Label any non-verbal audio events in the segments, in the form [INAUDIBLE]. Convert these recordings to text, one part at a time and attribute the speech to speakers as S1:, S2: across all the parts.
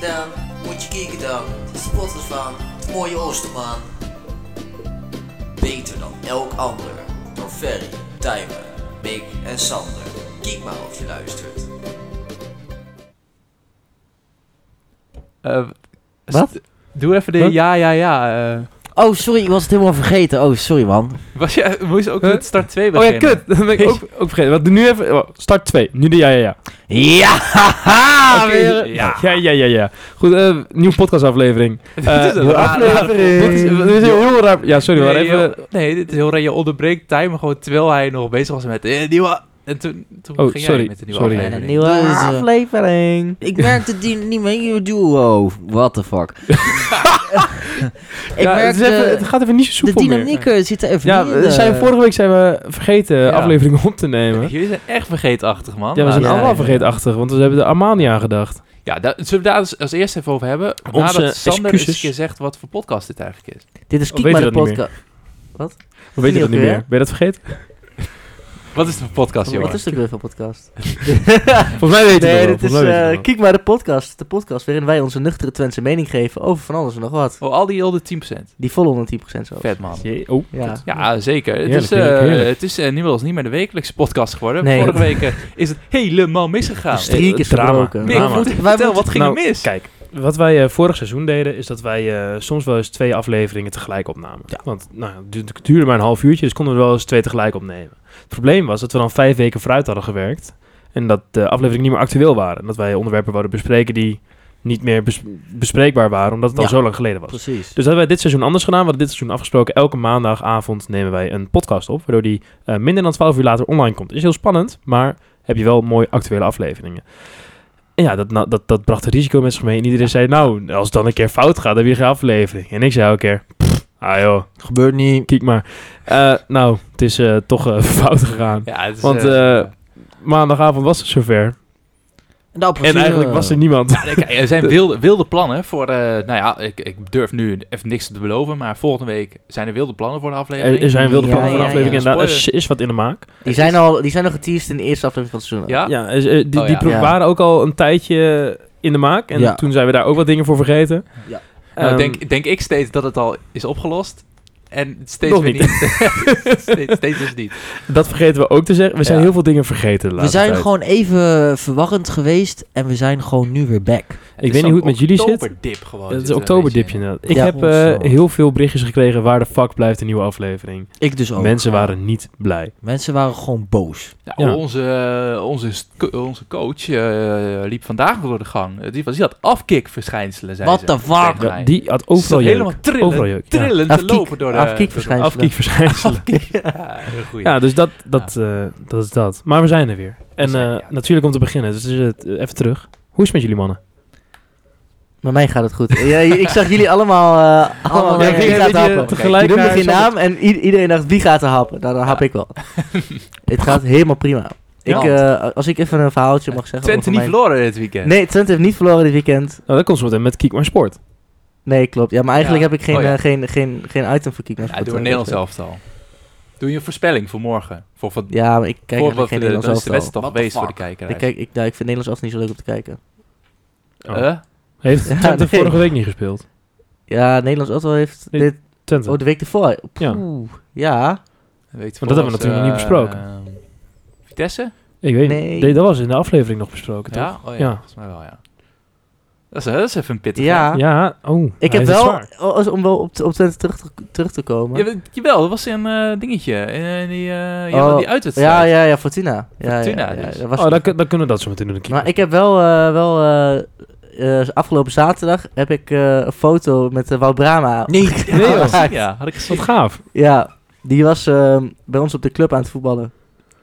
S1: dan, moet je kijken dan. De spotters van het mooie Oosterman. Beter dan elk ander. Door Ferry, Tijmen, Mick en Sander. Kijk maar of je luistert.
S2: Eh, st-
S3: Wat?
S2: Doe even de
S3: Wat?
S2: ja, ja, ja. eh.
S3: Oh, sorry, ik was het helemaal vergeten. Oh, sorry man.
S2: was je, moest je ook
S4: Huh?
S2: met start 2
S4: Oh ja,
S2: beginnen?
S4: kut. [LAUGHS] Dat ben ik ook, ook vergeten. Wat, nu even, oh, start 2. Nu de ja, ja, ja.
S3: Ja, haha,
S4: Oké,
S3: Ah, weer.
S4: ja. ja, ja, ja, ja. Goed, eh, nieuwe podcastaflevering.
S2: Dit
S4: Eh,
S2: is een
S4: nieuwe
S2: rare
S4: aflevering. Dit is, dit is een heel raar... Ja, sorry, maar
S2: nee,
S4: even...
S2: joh. nee, dit is heel raar. Je onderbreekt Tijmen gewoon terwijl hij nog bezig was met de nieuwe... En toen, toen
S4: Oh,
S2: ging
S4: sorry,
S2: jij met de nieuwe
S4: sorry.
S3: En een
S2: aflevering.
S3: nieuwe eh,
S4: Ah, aflevering.
S3: Ik merkte
S4: [LAUGHS]
S3: die niet meer. Nieuwe duo. Oh, What the fuck. ik
S4: Ja, het, is
S3: merkte...
S4: even- het gaat even niet zo
S3: de
S4: soepel meer.
S3: dynamiek eh, zit er even
S4: Ja,
S3: niet
S4: we
S3: in,
S4: zijn,
S3: eh.
S4: vorige week zijn we vergeten afleveringen op te nemen.
S2: Jullie zijn echt vergeetachtig, man.
S4: Ja, we zijn
S3: ja,
S4: allemaal
S3: ja.
S4: vergeetachtig, want we hebben er allemaal niet aan gedacht.
S2: Ja, daar, zullen we daar als, als eerst even over hebben?
S4: Onze
S2: nadat Sander eens
S4: excuses.
S2: een keer zegt wat voor podcast dit eigenlijk is.
S3: Dit is
S4: Oh,
S3: Kiek maar de
S4: weet je dat niet
S3: podcast.
S4: Hoe weet je
S3: Niet
S4: dat niet
S3: ook
S4: meer?
S3: weer?
S4: Ben je dat vergeten?
S2: Wat is het voor podcast, jongen?
S3: Wat is de weer van podcast?
S4: Volgens mij weten we
S3: nee,
S4: het wel,
S3: dit is
S4: volgens mij weten we
S3: eh,
S4: het wel.
S3: Kiek maar de podcast. De podcast waarin wij onze nuchtere Twentse mening geven over van alles en nog wat.
S2: Oh, al die hele 10%.
S3: Die volle 110% zo.
S2: Vet, man.
S4: Jee, oh,
S3: Ja.
S2: Ja, zeker. het
S4: Heerlijk,
S2: is, eh,
S4: heerlijk, heerlijk.
S2: Het is eh, inmiddels niet meer de wekelijkse podcast geworden.
S3: Nee.
S2: Vorige week eh, is het helemaal misgegaan.
S4: Dus,
S3: De streak is
S4: drama.
S3: gebroken.
S2: Mick,
S4: drama.
S2: moet-
S3: Wij
S2: vertel,
S3: moeten-
S2: wat ging er
S4: Nou,
S2: mis?
S4: Kijk, wat wij eh, vorig seizoen deden, is dat wij eh, soms wel eens twee afleveringen tegelijk opnamen. Want nou, het du- het duurde maar een half uurtje, dus konden we wel eens twee tegelijk opnemen. Het probleem was dat we dan vijf weken vooruit hadden gewerkt en dat de afleveringen niet meer actueel waren. En Dat wij onderwerpen wouden bespreken die niet meer bes- bespreekbaar waren, omdat het al
S3: Ja.
S4: zo lang geleden was.
S3: Precies.
S4: Dus dat hebben wij dit seizoen anders gedaan. We hadden dit seizoen afgesproken. Elke maandagavond nemen wij een podcast op. Waardoor die eh, minder dan 12 uur later online komt. Is heel spannend, maar heb je wel mooie actuele afleveringen. En ja, dat, nou, dat, dat bracht een risico met zich mee. En iedereen zei, nou, als het dan een keer fout gaat, dan heb je geen aflevering. En ik zei elke keer, "Pff, ah joh,
S3: Gebeurt niet.
S4: kijk maar. Eh, nou, het is eh, toch eh, [LAUGHS] fout gegaan.
S2: Ja, het is,
S4: Want
S2: eh,
S4: eh, maandagavond was het zover.
S3: Nou,
S4: En eigenlijk was er niemand.
S2: ja, kijk, er
S4: [LAUGHS]
S2: zijn wilde, wilde plannen voor... eh, nou ja, ik, ik durf nu even niks te beloven, maar volgende week zijn er wilde plannen voor de aflevering.
S4: Er, er zijn wilde
S3: Ja,
S4: plannen van
S3: ja, ja.
S4: afleveringen. En daar is, is wat in de maak.
S3: Die zijn, al, die zijn nog geteased in de eerste aflevering van het seizoen.
S2: Ja?
S4: Ja, dus, eh, die,
S2: Oh,
S4: die
S2: ja.
S4: pro-
S3: Ja.
S4: waren ook al een tijdje in de maak. En
S3: Ja.
S4: toen zijn we daar ook wat dingen voor vergeten.
S3: Ja.
S2: Nou,
S4: Ehm,
S2: denk, denk ik steeds dat het al is opgelost. En steeds
S4: Nog
S2: weer
S4: niet.
S2: niet. [LAUGHS] steeds, steeds is het niet.
S4: Dat vergeten we ook te zeggen. We zijn
S2: Ja.
S4: heel veel dingen vergeten de
S3: We
S4: laatste
S3: zijn
S4: tijd.
S3: gewoon even verwarrend geweest en we zijn gewoon nu weer back.
S4: Ik weet niet hoe het met jullie zit.
S2: Oktoberdip gewoon.
S4: Het
S2: zit
S4: is
S2: er
S4: een
S2: Oh, een
S4: oktoberdipje
S2: beetje
S4: inderdaad. Ik
S3: Ja,
S4: heb
S3: ons
S4: eh,
S3: wel.
S4: heel veel berichtjes gekregen waar de fuck blijft de nieuwe aflevering.
S3: Ik dus ook.
S4: Mensen waren niet blij.
S3: Mensen waren gewoon boos.
S2: in.
S4: Ja.
S2: Nou, onze, onze, st- onze coach eh, liep vandaag door de gang. Eh, Die, was, die had afkikverschijnselen, zei
S3: What
S2: ze
S3: the fuck?
S2: tegen mij.
S4: Die had
S2: Ze zat
S4: overal jeuk.
S2: helemaal trillen,
S4: Overal jeuk, ja.
S2: trillend te
S3: Afkiek-
S2: lopen door de...
S3: afkiekverschijnselen. [LAUGHS]
S4: Afkiekverschijnselen.
S2: door de- [LAUGHS] Ja, heel goed.
S4: Ja, dus dat, dat, eh, dat is dat. Maar we zijn er weer. En
S2: zijn er,
S4: eh,
S2: ja.
S4: natuurlijk om te beginnen. Dus eh, t- even terug. Hoe is het met jullie mannen?
S3: Bij mij gaat het goed. Ja, ik zag jullie allemaal, eh allemaal
S2: Ja,
S3: naar
S2: ik
S3: wie
S2: ging
S3: gaat
S4: een beetje
S3: happen.
S4: tegelijk
S3: Je noemde
S4: naar
S3: geen
S4: Sander.
S3: naam en i- iedereen dacht wie gaat er happen. Nou, dan hap
S2: Ja.
S3: ik wel.
S2: [LAUGHS]
S3: het gaat helemaal prima. Ik,
S2: Ja.
S3: eh, als ik even een verhaaltje mag zeggen.
S2: Twente
S3: over
S2: niet
S3: mijn-
S2: verloren dit weekend.
S3: Nee, Twente heeft niet verloren dit weekend.
S4: Nou, dat komt zo meteen met Kiek maar Sport.
S3: Nee, klopt. Ja, maar eigenlijk
S2: Ja.
S3: heb ik geen,
S2: Oh, ja.
S3: eh, geen, geen, geen item voor eh, Kiek.
S2: Ja, doe een Nederlands elftal. Doe je een voorspelling voor morgen? Voor wat...
S3: Ja, maar ik kijk
S2: voor
S3: eigenlijk
S2: wat
S3: geen
S2: de, dan is
S3: Nederlands
S2: de wedstrijd
S3: elftal.
S2: toch
S1: What the
S2: geweest voor de
S1: fuck?
S2: kijker.
S3: Ik, kijk, ik, nou, ik vind Nederlands elftal niet zo leuk om te kijken.
S2: Eh?
S4: Oh. Heeft
S3: Ja,
S4: Twente
S3: nee.
S4: vorige week niet gespeeld?
S3: Ja, Nederlands elftal heeft
S4: Nee.
S3: dit...
S4: Twente.
S3: Oh, de week ervoor.
S4: Ja.
S3: Oeh, ja.
S2: Weet
S4: Want dat hebben we natuurlijk nog niet besproken.
S2: eh, Vitesse?
S4: Ik weet
S3: Nee.
S4: niet. Nee, dat was in de aflevering nog besproken, toch?
S2: Ja? Oh, ja,
S4: Ja.
S2: volgens mij wel, ja. Dat is, eh, dat is even een pittig.
S3: Ja.
S4: Ja, oh. hij
S3: Ik heb
S4: heeft het
S3: wel,
S4: zwaar.
S3: als- om wel op, op Twente terug te, terug te komen. Ja,
S2: Jawel, jawel, dat was een eh, dingetje. Eh, die, eh, je had
S3: Oh,
S2: die uitwedstrijd.
S3: ja, ja, Fortuna. Ja,
S2: Fortuna
S3: ja, ja,
S2: dus.
S3: dat was-
S4: Oh, dan, kun- dan kunnen we dat zo meteen doen. Kiek.
S3: maar ik heb wel, eh, wel eh, eh, afgelopen zaterdag heb ik eh, een foto met eh, Wout Brama. [LAUGHS]
S1: Nee.
S2: Ja, had ik
S3: Ja.
S2: gezien, ja, had ik gezien.
S4: Wat gaaf.
S3: Ja, die was eh, bij ons op de club aan het voetballen.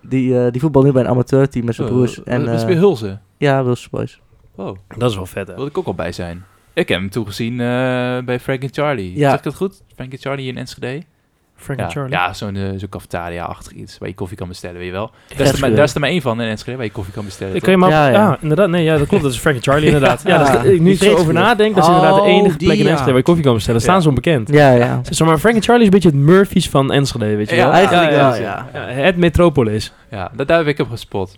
S3: Die, eh, die voetbal nu bij een amateurteam met zijn broers.
S2: Oh,
S3: en,
S2: dat is
S3: eh,
S2: weer Hulze.
S3: ja, Wilson Boys.
S2: Wow,
S4: Dat is wel vet, hè?
S2: wilde ik ook al bij zijn. Ik heb hem toegezien eh bij Frank en Charlie.
S3: Ja.
S2: Zeg ik dat goed? Frank en Charlie in Enschede?
S4: Frank
S2: Ja,
S4: en Charlie.
S2: ja zo'n eh, zo'n cafetaria-achtig iets waar je koffie kan bestellen, weet je wel. Daar is, er maar,
S3: Enschede.
S2: daar is er maar één van in Enschede waar je koffie kan bestellen.
S4: Ik kan je maar...
S3: Ja,
S4: Ja,
S3: ja.
S4: inderdaad. Nee, ja, dat klopt. Dat is Frank en Charlie, inderdaad. Ja, dat
S3: [LAUGHS]
S4: is,
S3: Ja.
S4: ik nu
S3: Die
S4: ik zo over
S3: vleeskleur.
S4: nadenk, dat is inderdaad de
S1: Oh,
S4: enige
S1: die,
S4: plek in
S1: ja.
S4: Enschede waar je koffie kan bestellen. Staan
S2: Ja.
S4: ze onbekend.
S3: Ja, ja.
S4: Zeg maar Frank en Charlie is een beetje het Murphy's van Enschede, weet je
S2: Ja,
S4: wel?
S3: Eigenlijk
S2: ja,
S3: wel,
S2: ja.
S3: ja.
S4: Ja, het Metropolis.
S2: Ja, dat, daar heb ik hem gespot.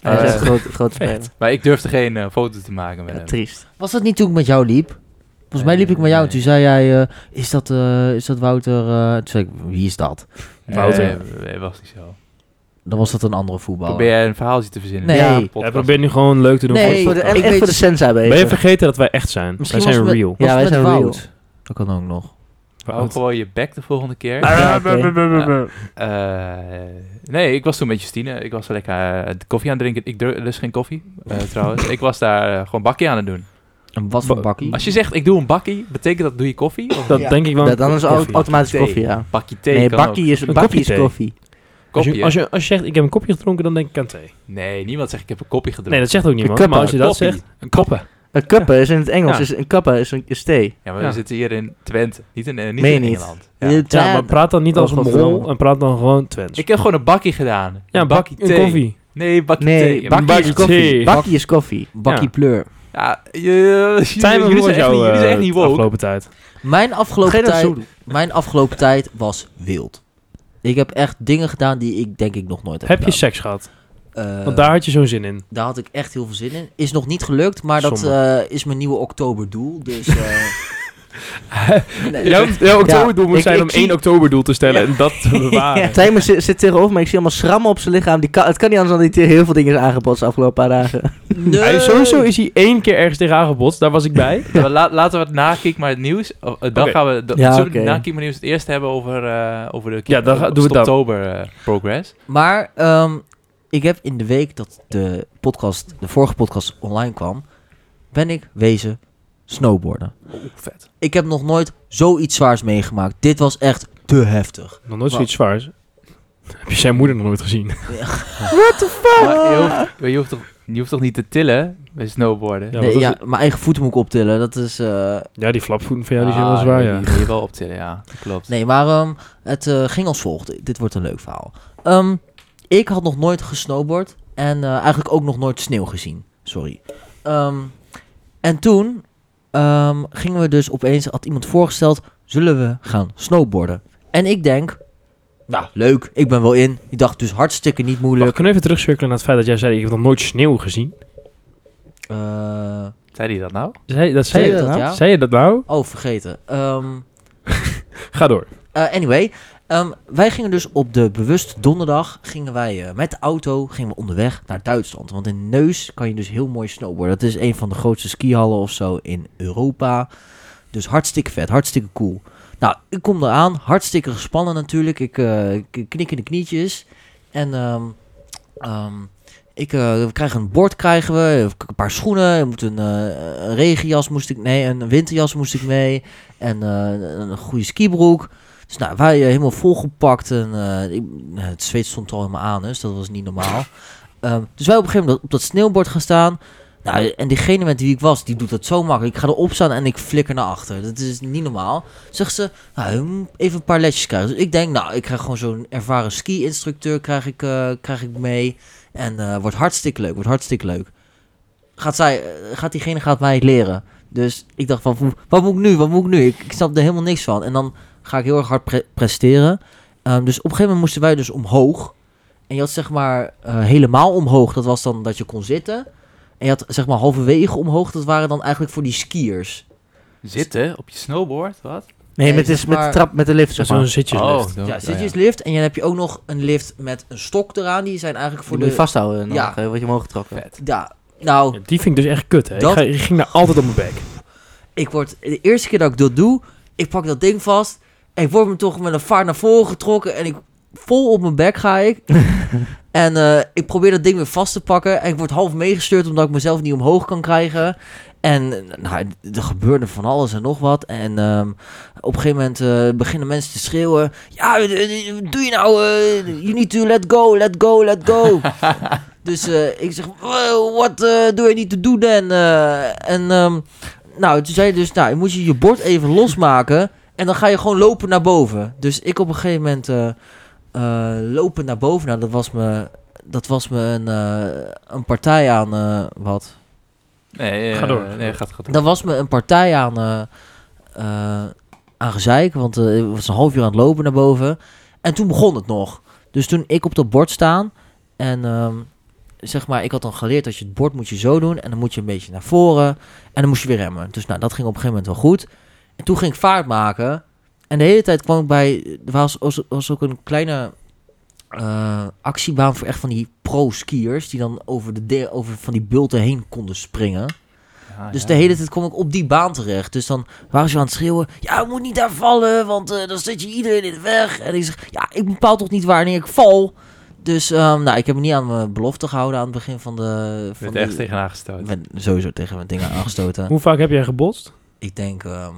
S3: Hij is
S2: Eh,
S3: echt een groot, grote speler.
S2: Maar ik durfde geen eh, foto te maken met
S3: Ja,
S2: hem.
S3: triest.
S5: Was dat niet toen ik met jou liep? Volgens mij liep ik met jou en toen zei jij, eh, is, dat, eh, is dat Wouter? eh?" toen zei ik, wie is dat?
S2: Nee,
S4: Wouter.
S2: nee, was niet zo.
S5: Dan was dat een andere voetballer.
S2: Probeer jij een verhaaltje te verzinnen.
S5: Nee.
S2: Ja,
S5: Hij
S2: podcast.
S4: Hij probeert nu gewoon leuk te doen.
S5: Nee,
S4: voor de
S3: voor de,
S4: podcast.
S5: ik
S3: echt
S5: weet-
S3: voor de sensa
S4: ben je
S3: bezig.
S4: vergeten dat wij echt zijn?
S5: Misschien
S4: wij zijn
S5: was het
S4: real.
S5: Was
S3: Ja, wij
S5: het met
S3: zijn real.
S5: Wout? Dat kan ook nog.
S2: Hou gewoon je bek de volgende keer.
S3: Ja, oké.
S2: Eh, nee, ik was toen met Justine. Ik was lekker eh, koffie aan het drinken. Ik dru- lust geen koffie,
S4: [LAUGHS]
S2: eh, trouwens. Ik was daar eh, gewoon bakkie aan het doen.
S5: En wat voor
S4: Ba-
S5: bakkie?
S2: Als je zegt, ik doe een bakkie, betekent dat doe je koffie? Of
S4: Dat
S3: Ja.
S4: denk ik wel.
S3: Ja, dan is au-
S4: Koffie.
S3: automatisch
S2: Thee.
S3: koffie, ja.
S2: bakkie thee
S3: Nee,
S2: kan ook.
S3: bakkie is,
S4: Een
S3: bakkie
S4: kopje
S3: is
S4: thee.
S3: koffie.
S4: Als
S2: Koppie,
S4: je,
S2: hè?
S4: als, je, als je zegt, ik heb een kopje gedronken, dan denk ik aan thee.
S2: Nee, niemand zegt, ik heb een kopje gedronken.
S4: Nee, dat zegt ook niemand.
S3: kappen,
S4: maar als je dat
S2: koppie.
S4: zegt, een koppen.
S3: Een kappa is in het Engels,
S4: Ja.
S3: is, een kappa is een is thee.
S2: Ja, maar
S4: Ja.
S2: we zitten hier in Twente, niet in, eh, niet
S3: Meen
S2: in
S3: niet.
S2: Engeland. Ja.
S3: Eh,
S4: Ja, maar praat dan niet als
S3: Oh,
S4: een
S3: godverdomme.
S4: mol en praat dan gewoon Twents.
S2: Ik heb gewoon een bakkie gedaan.
S4: ja,
S2: een
S4: een
S2: bakkie
S4: bak, een
S2: thee.
S4: koffie.
S2: Nee, bakkie thee.
S3: Nee,
S2: Ja, maar-
S3: bakkie is
S4: bakkie
S3: koffie.
S4: thee.
S3: Bakkie is koffie.
S5: Bakkie
S4: Ja.
S5: pleur.
S2: Ja, je- [LAUGHS] jullie
S4: Zijn we eh,
S2: zijn echt niet- jullie zijn echt niet woke.
S4: afgelopen tijd?
S5: Mijn
S3: Ga
S5: afgelopen,
S3: je dat
S5: tijd,
S3: zo doen?
S5: mijn afgelopen tijd was wild. Ik heb echt dingen gedaan die ik denk ik nog nooit heb
S4: Heb je
S5: gedaan.
S4: seks gehad?
S5: Eh,
S4: Want daar had je zo'n zin in.
S5: daar had ik echt heel veel zin in. Is nog niet gelukt, maar dat eh, is mijn nieuwe oktoberdoel.
S4: [LAUGHS]
S5: Dus eh, nee.
S3: oktoberdoel moet ik- zijn ik om zie- één
S4: oktoberdoel te stellen en dat te bewaren.
S3: Tijmen zit, zit tegenover me, ik zie allemaal schrammen op zijn lichaam. Die kan, het kan niet anders dan dat hij heel veel dingen is aangepast de afgelopen paar dagen.
S5: Nee.
S4: Hij, sowieso is hij één keer ergens tegen aangebotst, daar was ik
S2: [LAUGHS]
S4: bij.
S2: Ja, maar la- laten we het nakiek maar het nieuws. Oh, eh, dan
S4: Oké.
S2: gaan we. Dan,
S3: Ja,
S2: zullen we
S3: oké.
S2: het nakiek maar nieuws het eerst hebben over, eh, over de
S4: Ja, dan ga- doen we dat.
S2: oktober eh, progress.
S5: Maar ehm, ik heb in de week dat de podcast, de vorige podcast online kwam, ben ik wezen snowboarden.
S4: Oh,
S2: vet.
S5: Ik heb nog nooit zoiets zwaars meegemaakt. Dit was echt te heftig.
S4: Nog nooit zoiets zwaars. Heb je zijn moeder nog nooit gezien?
S2: Maar je, hoeft, maar je, hoeft toch, je hoeft toch niet te tillen bij snowboarden?
S4: Ja,
S5: Nee,
S4: wat was
S5: ja, mijn eigen voeten moet ik optillen. Dat is. eh,
S4: Ja, die flapvoeten van jou die zijn
S2: Ah,
S4: wel zwaar,
S2: die-
S4: ja.
S2: Die moet je wel optillen, ja. Dat klopt.
S5: Nee, maar ehm, het eh, ging als volgt. Dit wordt een leuk verhaal. Ehm, ik had nog nooit gesnowboard en eh, eigenlijk ook nog nooit sneeuw gezien. Sorry. Ehm, en toen ehm, gingen we dus opeens, had iemand voorgesteld, zullen we gaan snowboarden? En ik denk, nou leuk, ik ben wel in. Ik dacht dus hartstikke niet
S4: Wacht,
S5: moeilijk.
S4: kunnen we even terugcirkelen naar het feit dat jij zei, ik heb nog nooit sneeuw gezien?
S5: Eh,
S2: Zei die dat nou?
S4: Zei, dat zei,
S5: zei
S4: je,
S5: je
S4: dat,
S5: dat, ja?
S4: zei je dat nou?
S5: Oh, vergeten. Ehm,
S4: Ga door.
S5: Eh, anyway, ehm, wij gingen dus op de bewust donderdag gingen wij eh, met de auto gingen we onderweg naar Duitsland. Want in Neus kan je dus heel mooi snowboarden. Dat is een van de grootste skihallen of zo in Europa. Dus hartstikke vet, hartstikke cool. Nou, ik kom eraan, hartstikke gespannen natuurlijk. Ik eh, ik knik in de knietjes. En ehm, ehm, ik, eh, we krijgen een bord, krijgen we, een paar schoenen. Ik moet een, eh, een regenjas moest ik, nee, een winterjas moest ik mee. En eh, een goede skibroek. Dus nou, wij eh, helemaal volgepakt en eh, ik- het zweet stond al in mijn anus, dat was niet normaal. Ehm, dus wij op een gegeven moment op dat sneeuwbord gaan staan. Nou, en diegene met wie ik was, die doet dat zo makkelijk. Ik ga erop staan en ik flikker naar achter. Dat is niet normaal. Zegt ze, nou, je moet even een paar lesjes krijgen. Dus ik denk, nou, ik krijg gewoon zo'n ervaren ski-instructeur krijg ik, eh, krijg ik mee. En eh, wordt hartstikke leuk, wordt hartstikke leuk. Gaat, zij, eh, gaat diegene gaat mij leren. Dus ik dacht van, hoe- wat moet ik nu, wat moet ik nu? Ik, ik snap er helemaal niks van. En dan ga ik heel erg hard pre- presteren. Ehm, dus op een gegeven moment moesten wij dus omhoog. En je had zeg maar eh, helemaal omhoog, dat was dan dat je kon zitten. En je had zeg maar halverwege omhoog, dat waren dan eigenlijk voor die skiers.
S2: Zitten op je snowboard? Wat?
S3: Nee,
S5: Nee,
S3: met,
S5: zeg
S3: is, met de
S5: maar-
S3: trap, met de lift zeg
S4: Zo'n
S3: maar.
S4: zitjeslift.
S2: dan-
S5: ja,
S2: oh,
S5: zitjes lift. En dan heb je ook nog een lift met een stok eraan. Die zijn eigenlijk
S3: Voor
S5: voor
S3: moet je
S5: de...
S3: vasthouden, dan
S5: Ja.
S3: eh, word je omhoog getrokken.
S2: Vet.
S5: Ja, nou,
S4: Ja, die vind ik dus echt kut, hè.
S5: Dat-
S4: Ik, ga- ik ging daar altijd op mijn bek.
S5: ik word... De eerste keer dat ik dat doe, ik pak dat ding vast. En ik word me toch met een vaart naar voren getrokken. En ik vol op mijn bek ga ik. en eh, ik probeer dat ding weer vast te pakken. En ik word half meegestuurd omdat ik mezelf niet omhoog kan krijgen. En eh, nou, er gebeurde van alles en nog wat. En ehm, op een gegeven moment eh, beginnen mensen te schreeuwen. Ja, eh, eh, wat doe je nou? eh you need to let go, let go, let go. dus eh, ik zeg, "Wow, wat eh, doe je niet te doen? En, eh, en ehm, nou, toen zei je dus, nou, moet je je bord even losmaken. En dan ga je gewoon lopen naar boven. Dus ik op een gegeven moment eh, eh, lopen naar boven. Nou, dat was me, dat was me een, eh, een partij aan eh, wat.
S2: Nee, eh,
S4: Ga door.
S2: Nee, gaat, gaat door.
S5: Dan was me een partij aan, eh eh, aan gezeik, want eh, ik was een half uur aan het lopen naar boven. En toen begon het nog. Dus toen ik op dat bord staan en ehm, zeg maar, ik had dan geleerd dat je het bord moet je zo doen. En dan moet je een beetje naar voren. En dan moest je weer remmen. Dus nou, dat ging op een gegeven moment wel goed. En toen ging ik vaart maken. En de hele tijd kwam ik bij... Er was, was, was ook een kleine eh, actiebaan voor echt van die pro-skiers. Die dan over, de de, over van die bulten heen konden springen.
S2: Ah,
S5: Dus
S2: ja.
S5: de hele tijd kom ik op die baan terecht. Dus dan waren ze aan het schreeuwen. Ja, ik moet niet daar vallen, want eh, dan zet je iedereen in de weg. En ik zeg, ja, ik bepaal toch niet wanneer ik val. Dus ehm, nou, ik heb me niet aan mijn belofte gehouden aan het begin van de...
S2: Je
S5: Van
S2: bent
S5: die-
S2: echt tegenaan gestoten.
S5: Ik ben sowieso tegen mijn dingen aangestoten.
S2: [LAUGHS]
S4: Hoe vaak heb jij gebotst?
S5: ik denk ehm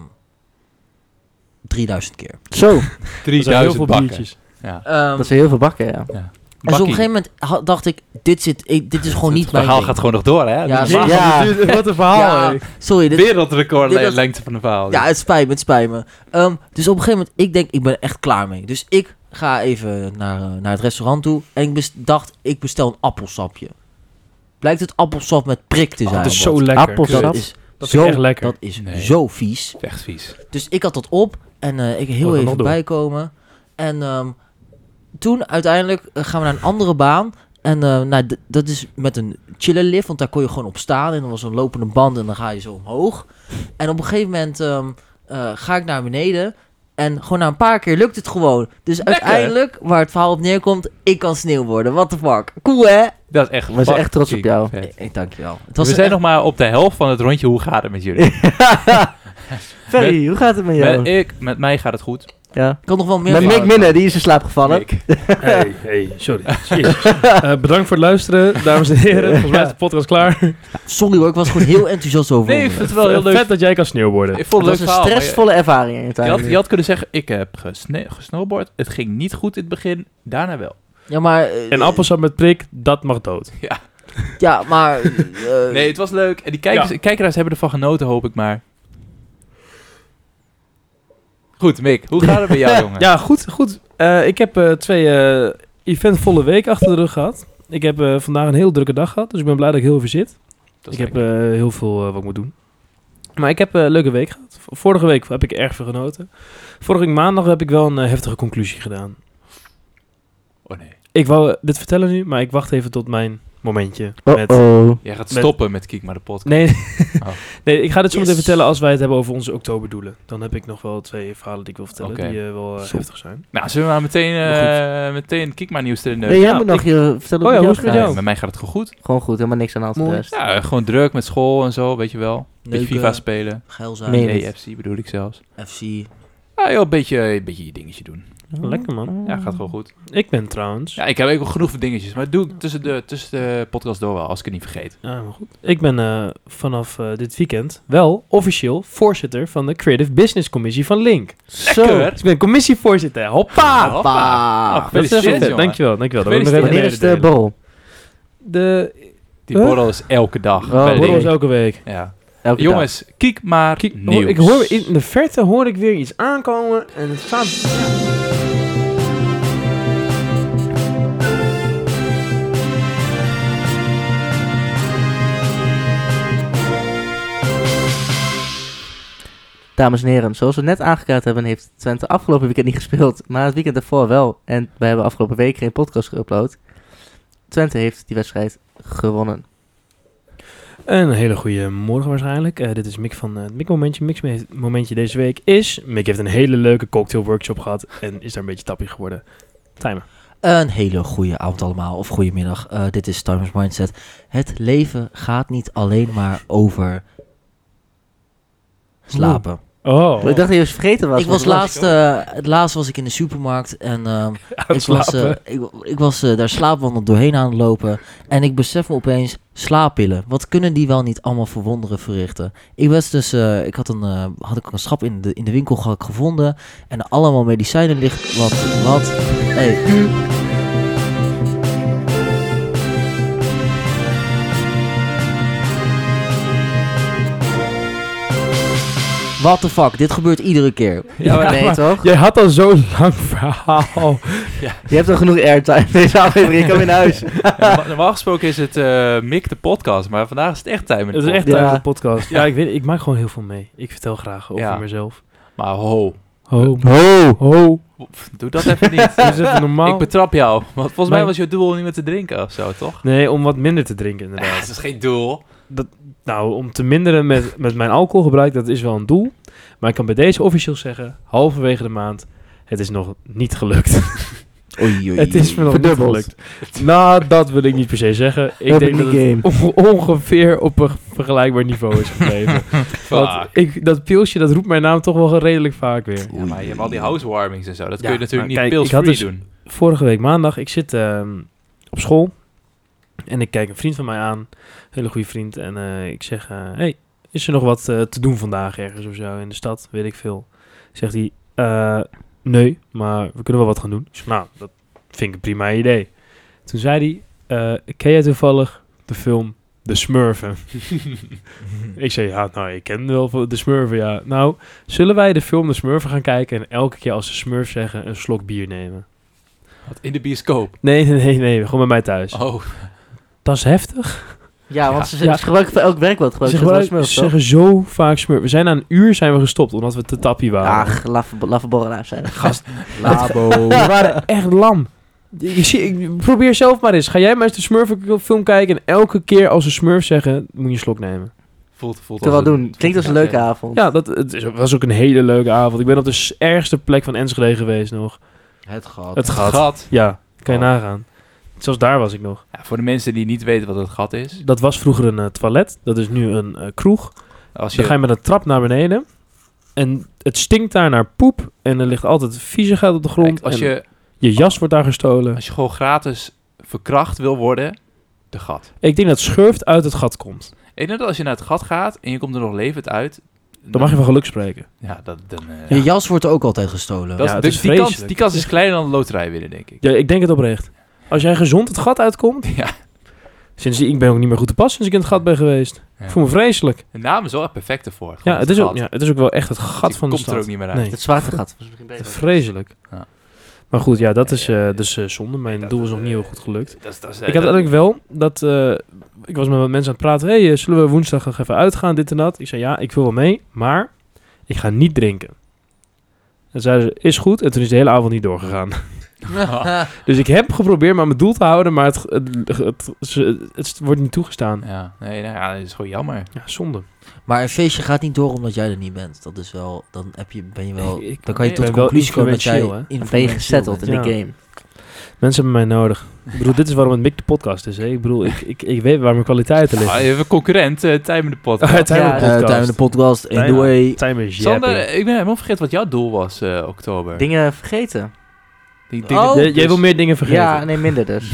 S5: 3000 keer.
S3: Zo.
S4: Dat zijn heel
S2: 3000
S4: veel
S2: bakken.
S4: biertjes.
S2: Ja.
S5: Ehm,
S3: Dat zijn heel veel bakken, ja.
S5: en dus op een gegeven moment ha- dacht ik, dit, zit, ik, dit is
S2: [LAUGHS]
S5: gewoon
S2: Het
S5: niet mijn
S2: verhaal
S5: ding.
S2: gaat gewoon nog door, hè?
S5: Ja,
S2: Ja,
S5: zeker.
S3: Ja.
S4: Wat een- Wat een verhaal,
S5: Ja,
S4: hè.
S5: sorry, dit,
S2: Wereldrecord
S5: dit
S2: le-
S5: was-
S2: lengte van een verhaal.
S5: Ja, het spijt me, het spijt me. Ehm, dus op een gegeven moment, ik denk, ik ben echt klaar mee. Dus ik ga even naar, eh, naar het restaurant toe en ik bes- dacht, ik bestel een appelsapje. Blijkt het appelsap met prik
S2: Ah,
S5: te zijn.
S4: Oh, Dat is
S5: man.
S4: zo lekker.
S3: Appelsap.
S4: Kut.
S5: dat
S3: knap.
S5: is
S4: Dat is
S5: zo,
S4: echt lekker.
S5: Dat is
S2: Nee.
S5: zo vies.
S2: Echt vies.
S5: Dus ik had dat op en eh, ik
S4: Wat
S5: heel
S4: we nog
S5: even
S4: doen.
S5: bijkomen. En ehm, toen uiteindelijk eh, gaan we naar een andere baan. En eh, nou, d- dat is met een chillen lift, want daar kon je gewoon op staan. En dan was een lopende band en dan ga je zo omhoog. En op een gegeven moment ehm, eh, ga ik naar beneden. En gewoon na een paar keer lukt het gewoon. Dus uiteindelijk, waar het verhaal op neerkomt, ik kan sneeuw worden. What the fuck. Cool hè?
S2: Dat is echt
S3: We zijn echt trots op
S2: fucking
S3: jou.
S2: vet.
S5: Ik- Ik dank je wel. Het
S2: We
S5: was
S2: zijn
S5: een echt-
S2: nog maar op de helft van het rondje. Hoe gaat het met
S3: [LAUGHS]
S2: jullie?
S3: Ferry, hoe gaat het met jou?
S2: Met, ik, met mij gaat het goed.
S3: ja.
S5: ik had nog wel meer
S3: Met Mick
S5: verhalen.
S3: Minne, die is in slaap gevallen.
S2: Ik.
S4: [LAUGHS] Hey, hey, sorry. Jezus. Eh, bedankt voor het luisteren, dames en heren. Volgens mij is de podcast klaar.
S5: Sorry hoor, ik was gewoon heel [LAUGHS] enthousiast over
S2: Nee, ik
S5: onderwerp.
S2: vind het wel heel leuk.
S4: Vet dat jij kan sneeuwborden.
S2: Ik
S3: Het
S2: vond het
S3: was
S2: leuk
S3: een
S2: verhaal. maar je-
S3: stressvolle ervaring in je
S2: Je
S3: tuin.
S2: had, je had kunnen zeggen, ik heb gesne gesnowboard. Het ging niet goed in het begin. Daarna wel.
S5: Ja, maar...
S4: [LAUGHS]
S5: eh,
S4: En appelsap met prik, dat mag dood.
S5: Ja, maar... eh,
S2: Nee, het was leuk. En die kijkers,
S4: Ja.
S2: kijkeraars hebben ervan genoten, hoop ik maar. Goed, Mick. Hoe gaat het met
S3: [LAUGHS]
S2: jou, jongen?
S4: Ja, goed, goed. Eh, ik heb eh, twee eh, eventvolle weken achter de rug gehad. Ik heb eh, vandaag een heel drukke dag gehad, dus ik ben blij dat ik heel veel zit.
S2: Dat
S4: Ik
S2: is
S4: heb
S2: leuk.
S4: eh, heel veel eh, wat ik moet doen. Maar ik heb eh, een leuke week gehad. V- Vorige week heb ik erg veel genoten. Vorige week maandag heb ik wel een eh, heftige conclusie gedaan.
S2: Oh nee.
S4: Ik wou eh, dit vertellen nu, maar ik wacht even tot mijn momentje.
S3: Oh,
S4: met-
S3: oh.
S2: Jij gaat
S4: Met-
S2: stoppen met Kiek maar de podcast.
S3: [LAUGHS]
S4: Nee,
S2: Oh.
S4: nee, ik ga dit zo meteen
S5: Yes.
S4: vertellen als wij het hebben over onze oktoberdoelen. Dan heb ik nog wel twee verhalen die ik wil vertellen,
S2: Oké.
S4: die eh, wel eh, heftig zijn.
S2: Nou, zullen we maar meteen, eh meteen Kiek maar nieuws erin Nou,
S3: Nee,
S2: neuken?
S3: jij
S4: ja,
S3: moet nog
S4: ik-
S3: je vertellen
S4: Oh ja,
S3: hoe het
S4: hoe is het
S3: met
S4: met
S3: jou
S4: jou?
S2: Met mij gaat het gewoon goed.
S3: gaat. Gewoon goed, helemaal niks aan de hand. voor de
S5: Mooi.
S3: rest.
S2: Ja, gewoon druk met school en zo, weet je wel. Beetje
S5: Leuke-
S2: FIFA spelen.
S5: Geil zijn.
S3: Nee. Weet.
S2: EFC bedoel ik zelfs.
S5: FC.
S2: Ja, joh, een beetje, een beetje je dingetje doen.
S4: Lekker man.
S2: Ja, gaat gewoon goed.
S4: Ik ben trouwens.
S2: Ja, ik heb ook wel genoeg van dingetjes, maar dat doe ik tussen de, tussen de podcast door wel, als ik het niet vergeet.
S4: Ah, maar goed. Ik ben eh, vanaf eh, dit weekend wel officieel voorzitter van de Creative Business Commissie van Link.
S3: Zo.
S4: Dus ik ben commissievoorzitter. Hoppa!
S2: Hoppa. Oh,
S5: Pa.
S4: Dat is
S2: Gefeliciteerd,
S4: even vet.
S2: jongen.
S4: Dankjewel, dankjewel. Dat wil ik nog even
S3: Wanneer is de
S4: mededelen.
S3: borrel?
S4: De
S2: Die
S4: Huh?
S2: borrel is elke dag.
S3: Oh,
S2: bij de
S4: borrel is
S2: dingen.
S4: elke week.
S2: Ja.
S3: Elke dag.
S2: Jongens, kiek maar
S4: Kijk, hoor-
S2: nieuws.
S4: ik hoor
S2: [LAUGHS]
S4: in de verte hoor ik weer iets aankomen en het staat.
S3: Dames en heren, zoals we net aangekaart hebben, heeft Twente afgelopen weekend niet gespeeld. Maar het weekend daarvoor wel. En wij hebben afgelopen week geen podcast geüpload. Twente heeft die wedstrijd gewonnen.
S4: Een hele goede morgen waarschijnlijk. Eh, dit is Mick van eh, het Mick Momentje. Mick's me- Momentje deze week is... Mick heeft een hele leuke cocktailworkshop gehad en is daar een beetje tappie geworden. Timer.
S5: Een hele goede avond allemaal, of goedemiddag. Eh dit is Timers Mindset. Het leven gaat niet alleen maar over slapen.
S4: Oh.
S3: Ik dacht dat je was vergeten was.
S5: Ik was laatst, eh, het laatst was ik in de supermarkt en ehm, ik was, eh, ik, ik was eh, daar slaapwandel doorheen aan het lopen. En ik besef me opeens, slaappillen. Wat kunnen die wel niet allemaal voor wonderen verrichten? Ik was dus, eh, ik had een, eh, had ik een schap in de, in de winkel ge- gevonden. En allemaal medicijnen ligt, wat, wat, hey. What the fuck, dit gebeurt iedere keer.
S3: Ja, maar nee toch?
S4: Jij had al zo'n [LAUGHS] lang verhaal.
S3: Je hebt al genoeg airtime deze aflevering. Ik kan weer naar huis.
S2: Normaal- Normaal gesproken is het eh Mick de podcast, maar vandaag is het echt tijd met de
S4: Het is echt
S2: podcast.
S4: een
S3: Ja.
S4: podcast. Ja, ik weet ik maak gewoon heel veel mee. Ik vertel graag over
S2: Ja.
S4: mezelf.
S2: Maar ho,
S4: Ho,
S3: Ho!
S4: ho.
S2: Doe dat even
S4: [LAUGHS] Is
S2: niet.
S4: het normaal?
S2: ik betrap jou. Want volgens mij
S4: Maar-
S2: was je doel om niet meer te drinken of zo, toch?
S4: Nee, om wat minder te drinken
S2: Ja,
S4: inderdaad.
S2: dat is geen doel.
S4: Nou, om te minderen met, met mijn alcoholgebruik, dat is wel een doel. Maar ik kan bij deze officieel zeggen, halverwege de maand, het is nog niet gelukt.
S5: Oei, oei,
S4: Het is me nog niet
S3: Verdubbeld.
S4: gelukt. Nou, dat wil ik niet per se zeggen. Ik
S3: Urban
S4: denk dat
S3: League
S4: het onge- ongeveer op een vergelijkbaar niveau is [LAUGHS] gebleven. Want
S2: Fuck.
S4: ik, dat pilsje, dat roept mijn naam toch wel redelijk vaak weer.
S2: Ja, maar je hebt al die housewarmings en zo. Dat
S4: Ja,
S2: kun je natuurlijk niet
S4: maar kijk, ik had
S2: pils-free
S4: dus-
S2: doen.
S4: Vorige week maandag, ik zit ehm, op school en ik kijk een vriend van mij aan. Een hele goede vriend. En eh, ik zeg, eh, hey, is er nog wat eh, te doen vandaag ergens of zo in de stad? Weet ik veel. Zegt hij, eh, nee, maar we kunnen wel wat gaan doen. Ik zeg, nou, dat vind ik een prima idee. Toen zei hij, eh ken jij toevallig de film De Smurfen? ik zei, ja, nou, ik ken wel van De Smurfen, ja. Nou, zullen wij de film De Smurfen gaan kijken en elke keer als ze Smurf zeggen een slok bier nemen?
S2: Wat, In de bioscoop.
S4: Nee, nee, nee, nee, gewoon bij mij thuis.
S2: Oh,
S4: Dat is heftig.
S3: [LAUGHS] Ja, want ze, ze
S4: Ja.
S3: gebruiken voor elk werkwoord
S4: Ze,
S3: gebruiken ze
S4: gebruiken-
S3: wel smurf,
S4: ze zeggen zo vaak smurf. We zijn na een uur zijn we gestopt omdat we te tappie
S3: toch?
S4: waren.
S3: Ach, laffe, laffe borrelaars zijn [LAUGHS] dat.
S4: Gast.
S3: Labo.
S4: We waren echt lam. Ik, zie- ik- probeer zelf maar eens. Ga jij maar eens de smurf film kijken en elke keer als ze smurf zeggen, moet je een slok
S2: [LAUGHS]
S4: nemen.
S2: voelt, voelt
S3: Te wel
S2: als een-
S3: doen. Klinkt als een leuke
S2: Ja.
S3: avond.
S4: Ja, dat het is, was ook een hele leuke avond. Ik ben op de s- ergste plek van Enschede geweest nog.
S5: Het gehad.
S4: Het gat.
S2: Gat.
S4: Ja, kan je
S2: Oh.
S4: nagaan. Zelfs daar was ik nog.
S2: Ja, voor de mensen die niet weten wat het gat is.
S4: Dat was vroeger een eh, toilet. Dat is nu een eh, kroeg.
S2: Als je,
S4: Dan ga je met een trap naar beneden. En het stinkt daar naar poep. En er ligt altijd viezigheid op de grond.
S2: kijk, als,
S4: en
S2: je,
S4: je jas wordt daar gestolen.
S2: als je gewoon gratis verkracht wil worden, de gat.
S4: Ik denk dat schurft uit het gat komt.
S2: Ik denk dat als je naar het gat gaat en je komt er nog levend uit...
S4: Dan mag je van geluk spreken.
S2: Ja, dat, dan, eh,
S5: Je jas wordt ook altijd gestolen.
S2: dat
S4: Ja, het
S2: dus
S4: is
S2: die, kans,
S4: vreselijk.
S2: die kans is kleiner dan de loterij winnen, denk ik.
S4: Ja, ik denk het oprecht. Als jij gezond het gat uitkomt.
S2: Ja.
S4: Sinds ik ben ook niet meer goed te pas sinds ik in het gat ben geweest.
S2: Ja.
S4: Ik voel me vreselijk.
S2: De naam is wel echt perfect ervoor. Gewoon
S4: Ja het, is ook,
S2: gat.
S4: ja, het is ook wel echt het gat
S2: Je
S4: van de
S2: komt
S4: stad.
S2: er ook niet meer uit.
S4: Nee.
S3: Het zwaartegat was misschien beter.
S4: Vreselijk.
S2: Ja.
S4: Maar goed, ja, dat
S2: Ja,
S4: is
S2: ja,
S4: eh,
S2: ja.
S4: dus eh, zonde. Mijn
S2: Dat,
S4: doel is nog
S2: eh,
S4: niet heel goed gelukt.
S2: Dat, is- dat, is- eh,
S4: Ik had
S2: dat-
S4: eigenlijk wel dat. eh, ik was met wat mensen aan het praten. hey, eh, zullen we woensdag nog even uitgaan? Dit en dat. Ik zei ja, ik wil wel mee, maar ik ga niet drinken. En zeiden ze, is goed. En toen is de hele avond niet doorgegaan. [LAUGHS]
S3: [LAUGHS]
S4: dus ik heb geprobeerd maar mijn doel te houden, maar het, het, het, ze- het wordt niet toegestaan.
S2: Ja, nee, nou ja, dat is gewoon jammer.
S4: Ja, zonde.
S5: Maar een feestje gaat niet door omdat jij er niet bent. Dat is wel... Dan, heb je, ben je wel,
S4: Ik- ik-
S5: dan kan je
S4: ik
S5: tot de
S4: ben wel
S5: conclusie komen dat jij
S4: influentieel, hè?
S3: Dan ben je
S5: influentieel
S3: gezetteld
S5: bent.
S3: in de
S4: Ja.
S3: game.
S4: Mensen hebben mij nodig. Ik bedoel, dit is waarom het Mick de podcast is. Hè? Ik bedoel, ik, ik, ik weet waar mijn kwaliteiten
S2: Ah,
S4: liggen.
S2: je hebt een concurrent, eh Tijmen de Pot.
S4: [LAUGHS] Ah, Time
S3: Ja,
S4: de
S5: Eh,
S4: podcast.
S5: Tuin de podcast. In the
S4: Bijna.
S5: way.
S4: Time
S2: [LAUGHS]
S4: is
S2: Sander,
S4: japping.
S2: ik ben helemaal vergeten wat jouw doel was, eh, oktober.
S3: Dingen vergeten.
S2: Die dingen-
S5: Oh,
S4: Jij-
S2: dus-
S4: Jij wil meer dingen vergeten.
S3: Ja, nee, minder dus.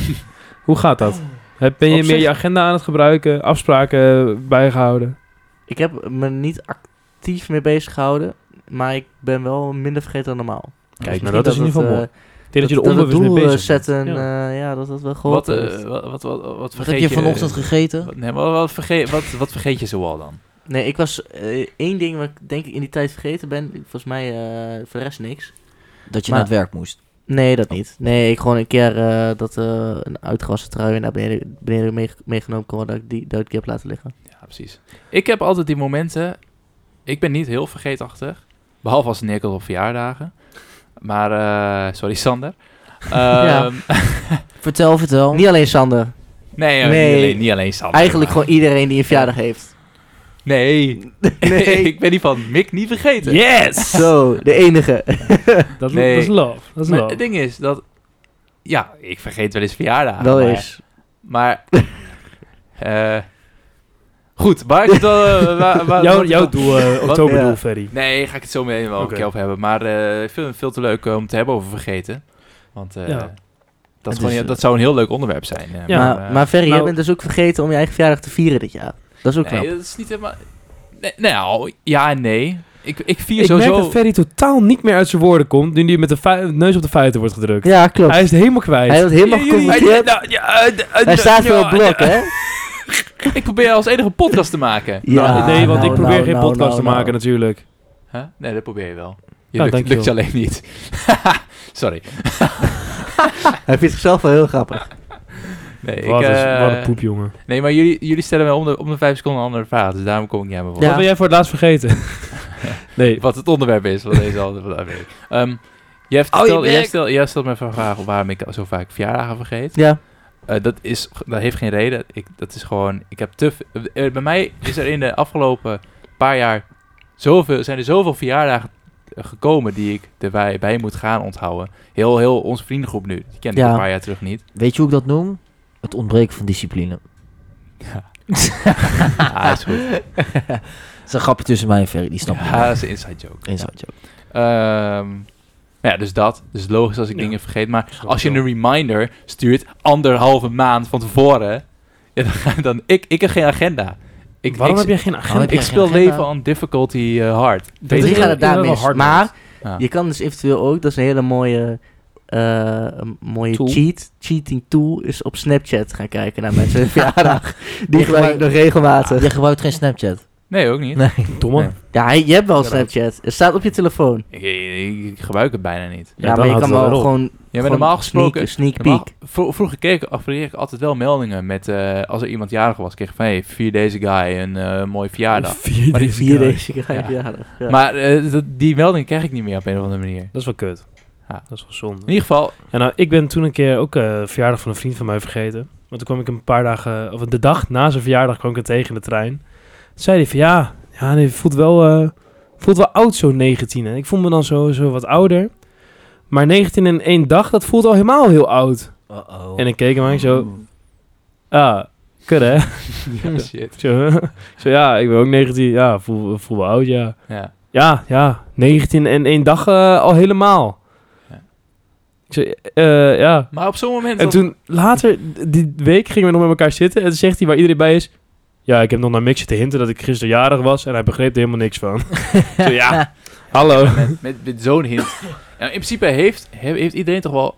S4: Hoe gaat dat? Heb- Ben je
S3: Op
S4: meer
S3: zich-
S4: je agenda aan het gebruiken, afspraken bijgehouden?
S3: Ik heb me niet actief mee bezig gehouden, maar ik ben wel minder vergeten dan normaal. Dus
S4: Kijk,
S3: maar
S4: nou dat is in ieder
S3: eh,
S4: geval mooi. Ik denk dat je er
S3: het
S4: onbewust mee
S3: doel eh,
S4: bezig bent.
S3: zetten, ja.
S4: Ja.
S3: ja, dat dat wel geholpen
S2: wat, eh,
S3: heeft.
S2: wat, wat, wat, wat
S5: Wat
S2: vergeet eh,
S5: heb je vanochtend gegeten?
S2: Wat, nee, maar wat vergeet, wat, wat vergeet je zoal dan?
S3: Nee, ik was eh, één ding wat ik denk ik in die tijd vergeten ben. Volgens mij eh, voor de rest niks.
S5: Dat je
S3: Maar-
S5: naar het werk moest.
S3: Nee, dat niet. Nee, ik gewoon een keer eh, dat eh, een uitgewassen trui naar beneden, beneden mee- meegenomen kon worden, dat ik die dat ik die heb laten liggen.
S2: Ja, precies. Ik heb altijd die momenten... Ik ben niet heel vergeetachtig. Behalve als het neerkomt op verjaardagen. Maar, eh, sorry
S4: [LAUGHS]
S2: Sander. Ehm,
S5: Vertel, vertel.
S3: Niet alleen Sander.
S2: Nee, eh,
S3: Nee.
S2: Niet, alleen, niet alleen Sander.
S3: Eigenlijk
S2: maar-
S3: gewoon iedereen die een verjaardag heeft.
S4: [LAUGHS]
S2: Nee.
S3: Nee.
S2: [LAUGHS] ik ben die van Mick niet vergeten.
S4: Yes!
S3: Zo, de enige.
S4: Dat,
S2: Nee.
S4: dat is love. Dat is
S2: Maar
S4: love.
S2: het ding is dat... Ja, ik vergeet wel eens verjaardagen.
S3: wel
S2: maar-
S3: eens.
S4: [LAUGHS]
S2: Maar... eh, goed, waar ik het wel... eh,
S4: [LAUGHS]
S2: waar- waar-
S4: jouw
S2: wat ik
S4: jouw
S2: wel-
S4: doel, eh,
S2: Wat-
S4: oktoberdoel,
S3: Ja.
S4: Ferry.
S2: Nee, ga ik het zo meteen wel
S4: Oké.
S2: een keer over hebben. Maar eh, veel, veel te leuk eh, om te hebben over vergeten. Want eh,
S4: Ja.
S2: dat,
S5: is,
S2: is gewoon,
S5: eh,
S2: dat zou een heel leuk onderwerp zijn. eh,
S4: Ja,
S3: maar,
S2: eh,
S3: maar Ferry,
S4: nou-
S3: jij bent dus ook vergeten om je eigen verjaardag te vieren dit jaar. Dat is ook knap.
S2: eh, nee, dat is niet helemaal... Nee, nou, ja en nee. Ik, ik vier
S4: Ik merk
S2: sowieso...
S4: dat Ferry totaal niet meer uit zijn woorden komt nu hij met de fei- neus op de feiten wordt gedrukt.
S3: Ja, klopt.
S4: Hij
S3: Hij,
S4: is het helemaal kwijt.
S3: wordt helemaal
S2: Jullie-
S3: geconfronteerd.
S2: Nou, ja, eh, eh,
S3: Hij staat weer op
S2: ja,
S3: blok,
S2: ja.
S3: hè?
S2: Ik probeer als enige podcast te maken. [LAUGHS]
S3: Ja,
S4: nee, want
S3: nou,
S4: ik probeer
S3: nou,
S4: geen
S3: nou,
S4: podcast
S3: nou,
S4: te maken
S3: nou.
S4: natuurlijk.
S2: Huh? Nee, dat probeer je wel. Je
S4: Ja,
S2: lukt,
S4: dank je
S2: lukt je alleen niet. [LAUGHS] Sorry.
S3: Hij vindt zichzelf wel heel
S4: [LAUGHS]
S3: grappig.
S2: Nee, ik,
S4: wat,
S2: eh,
S4: een, wat een poep, jongen.
S2: Nee, maar jullie, jullie stellen mij om de, om de vijf seconden een andere vraag. Dus daarom kom ik niet aan mijn
S3: Ja.
S2: woord.
S4: Wat ben jij voor het laatst vergeten? [LAUGHS] Nee,
S2: Wat het onderwerp is
S3: [LAUGHS]
S2: van deze aflevering. Ehm
S1: Oh, je
S2: jij, vertelde- jij,
S1: bek.
S2: stelt, jij stelt me even een vraag waarom ik zo vaak verjaardagen vergeet.
S3: Ja,
S2: Eh, dat, is, dat heeft geen reden. Ik, dat is gewoon, ik heb te... v- eh, bij mij is er in de afgelopen paar jaar zoveel, zijn er zoveel verjaardagen eh, gekomen die ik erbij bij moet gaan onthouden. Heel, heel onze vriendengroep nu. Die kende ik
S3: Ja.
S2: een paar jaar terug niet.
S5: Weet je hoe ik dat noem? Het ontbreken van discipline.
S2: [LAUGHS] ah, is [LAUGHS] goed.
S5: Dat is een grapje tussen mij en Ferry, die snapt
S2: Ja,
S5: ja,
S2: dat is een inside joke.
S5: Inside joke.
S2: Ehm, ja, dus dat. Dus logisch als ik
S4: Ja.
S2: dingen vergeet. Maar
S4: Snap
S2: als je
S4: ik
S2: een reminder stuurt anderhalve maand van tevoren, [LAUGHS] ja, dan, ga- dan ik, ik heb geen agenda. Ik,
S4: waarom
S2: ik,
S4: heb je geen agenda?
S5: heb je
S2: ik
S5: geen
S2: speel
S5: agenda?
S2: leven on difficulty eh, hard.
S4: is
S3: drie
S4: wel-
S3: gaat het daar
S4: dat is wel
S3: mis.
S4: hard,
S3: Maar
S2: Ja.
S3: je kan dus eventueel ook, dat is een hele mooie, eh, een mooie
S4: Tool.
S3: cheat, cheating tool, is op Snapchat gaan kijken naar mensen
S4: [LAUGHS]
S3: hun verjaardag. Die
S5: Je
S3: gebruik ik
S5: gebruikt-
S3: nog regelmatig.
S5: Je gebruikt geen Snapchat.
S2: Nee, ook niet.
S5: Nee.
S4: Domme.
S2: Nee.
S3: Ja, je hebt wel
S4: Ja, dat-
S3: Snapchat. Het staat op je telefoon.
S2: Ik, ik- ik gebruik het bijna niet.
S3: Ja,
S4: dan
S3: maar je
S4: houdt
S3: kan
S4: het
S3: wel
S4: erop.
S3: gewoon...
S2: Ja, maar
S3: gewoon
S2: normaal
S3: Sneak,
S2: gesproken...
S3: sneak
S2: normaal-
S3: peek.
S2: vro- vroeger keek, affiliëer ik altijd wel meldingen met... eh, als er iemand jarig was, kreeg ik van... Hey, vier deze guy een eh mooie verjaardag.
S4: [LAUGHS] Vier
S2: Maar die
S4: deze
S3: Vier
S4: guy.
S3: deze keer
S2: Ja.
S3: verjaardag. Ja.
S2: Maar eh, dat- die melding krijg ik niet meer op een of andere manier.
S4: Dat is wel kut.
S2: Ja.
S4: Dat is wel zonde.
S2: In ieder geval,
S4: Ja, nou, ik ben toen een keer ook eh verjaardag van een vriend van mij vergeten. Want toen kwam ik hem een paar dagen, of de dag na zijn verjaardag kwam ik hem tegen in de trein. Toen zei hij van ja, ja nee, voelt wel, eh, voelt wel oud zo 19. En ik voel me dan zo, zo wat ouder. Maar 19 in één dag, dat voelt al helemaal heel oud.
S5: Uh-oh.
S4: En ik keek hem aan, ik zo, ah, kut hè. [LAUGHS]
S2: shit.
S4: Ik zo, [LAUGHS] ik zo ja, ik ben ook 19, ja, voel, voel wel oud ja.
S2: Ja.
S4: Ja, ja, 19 in één dag eh, al helemaal.
S2: Ja.
S4: Ik zo, eh, ja,
S2: Maar op zo'n moment...
S4: en
S2: dat-
S4: toen later, die week, gingen we nog met elkaar zitten. En toen zegt hij waar iedereen bij is. Ja, ik heb nog naar Mick zitten hinten dat ik gisteren jarig was. En hij begreep er helemaal niks van. [LAUGHS] Zo, [LAUGHS] ja, hallo.
S2: met, met, met zo'n hint. Ja, in principe heeft, he- heeft iedereen toch wel...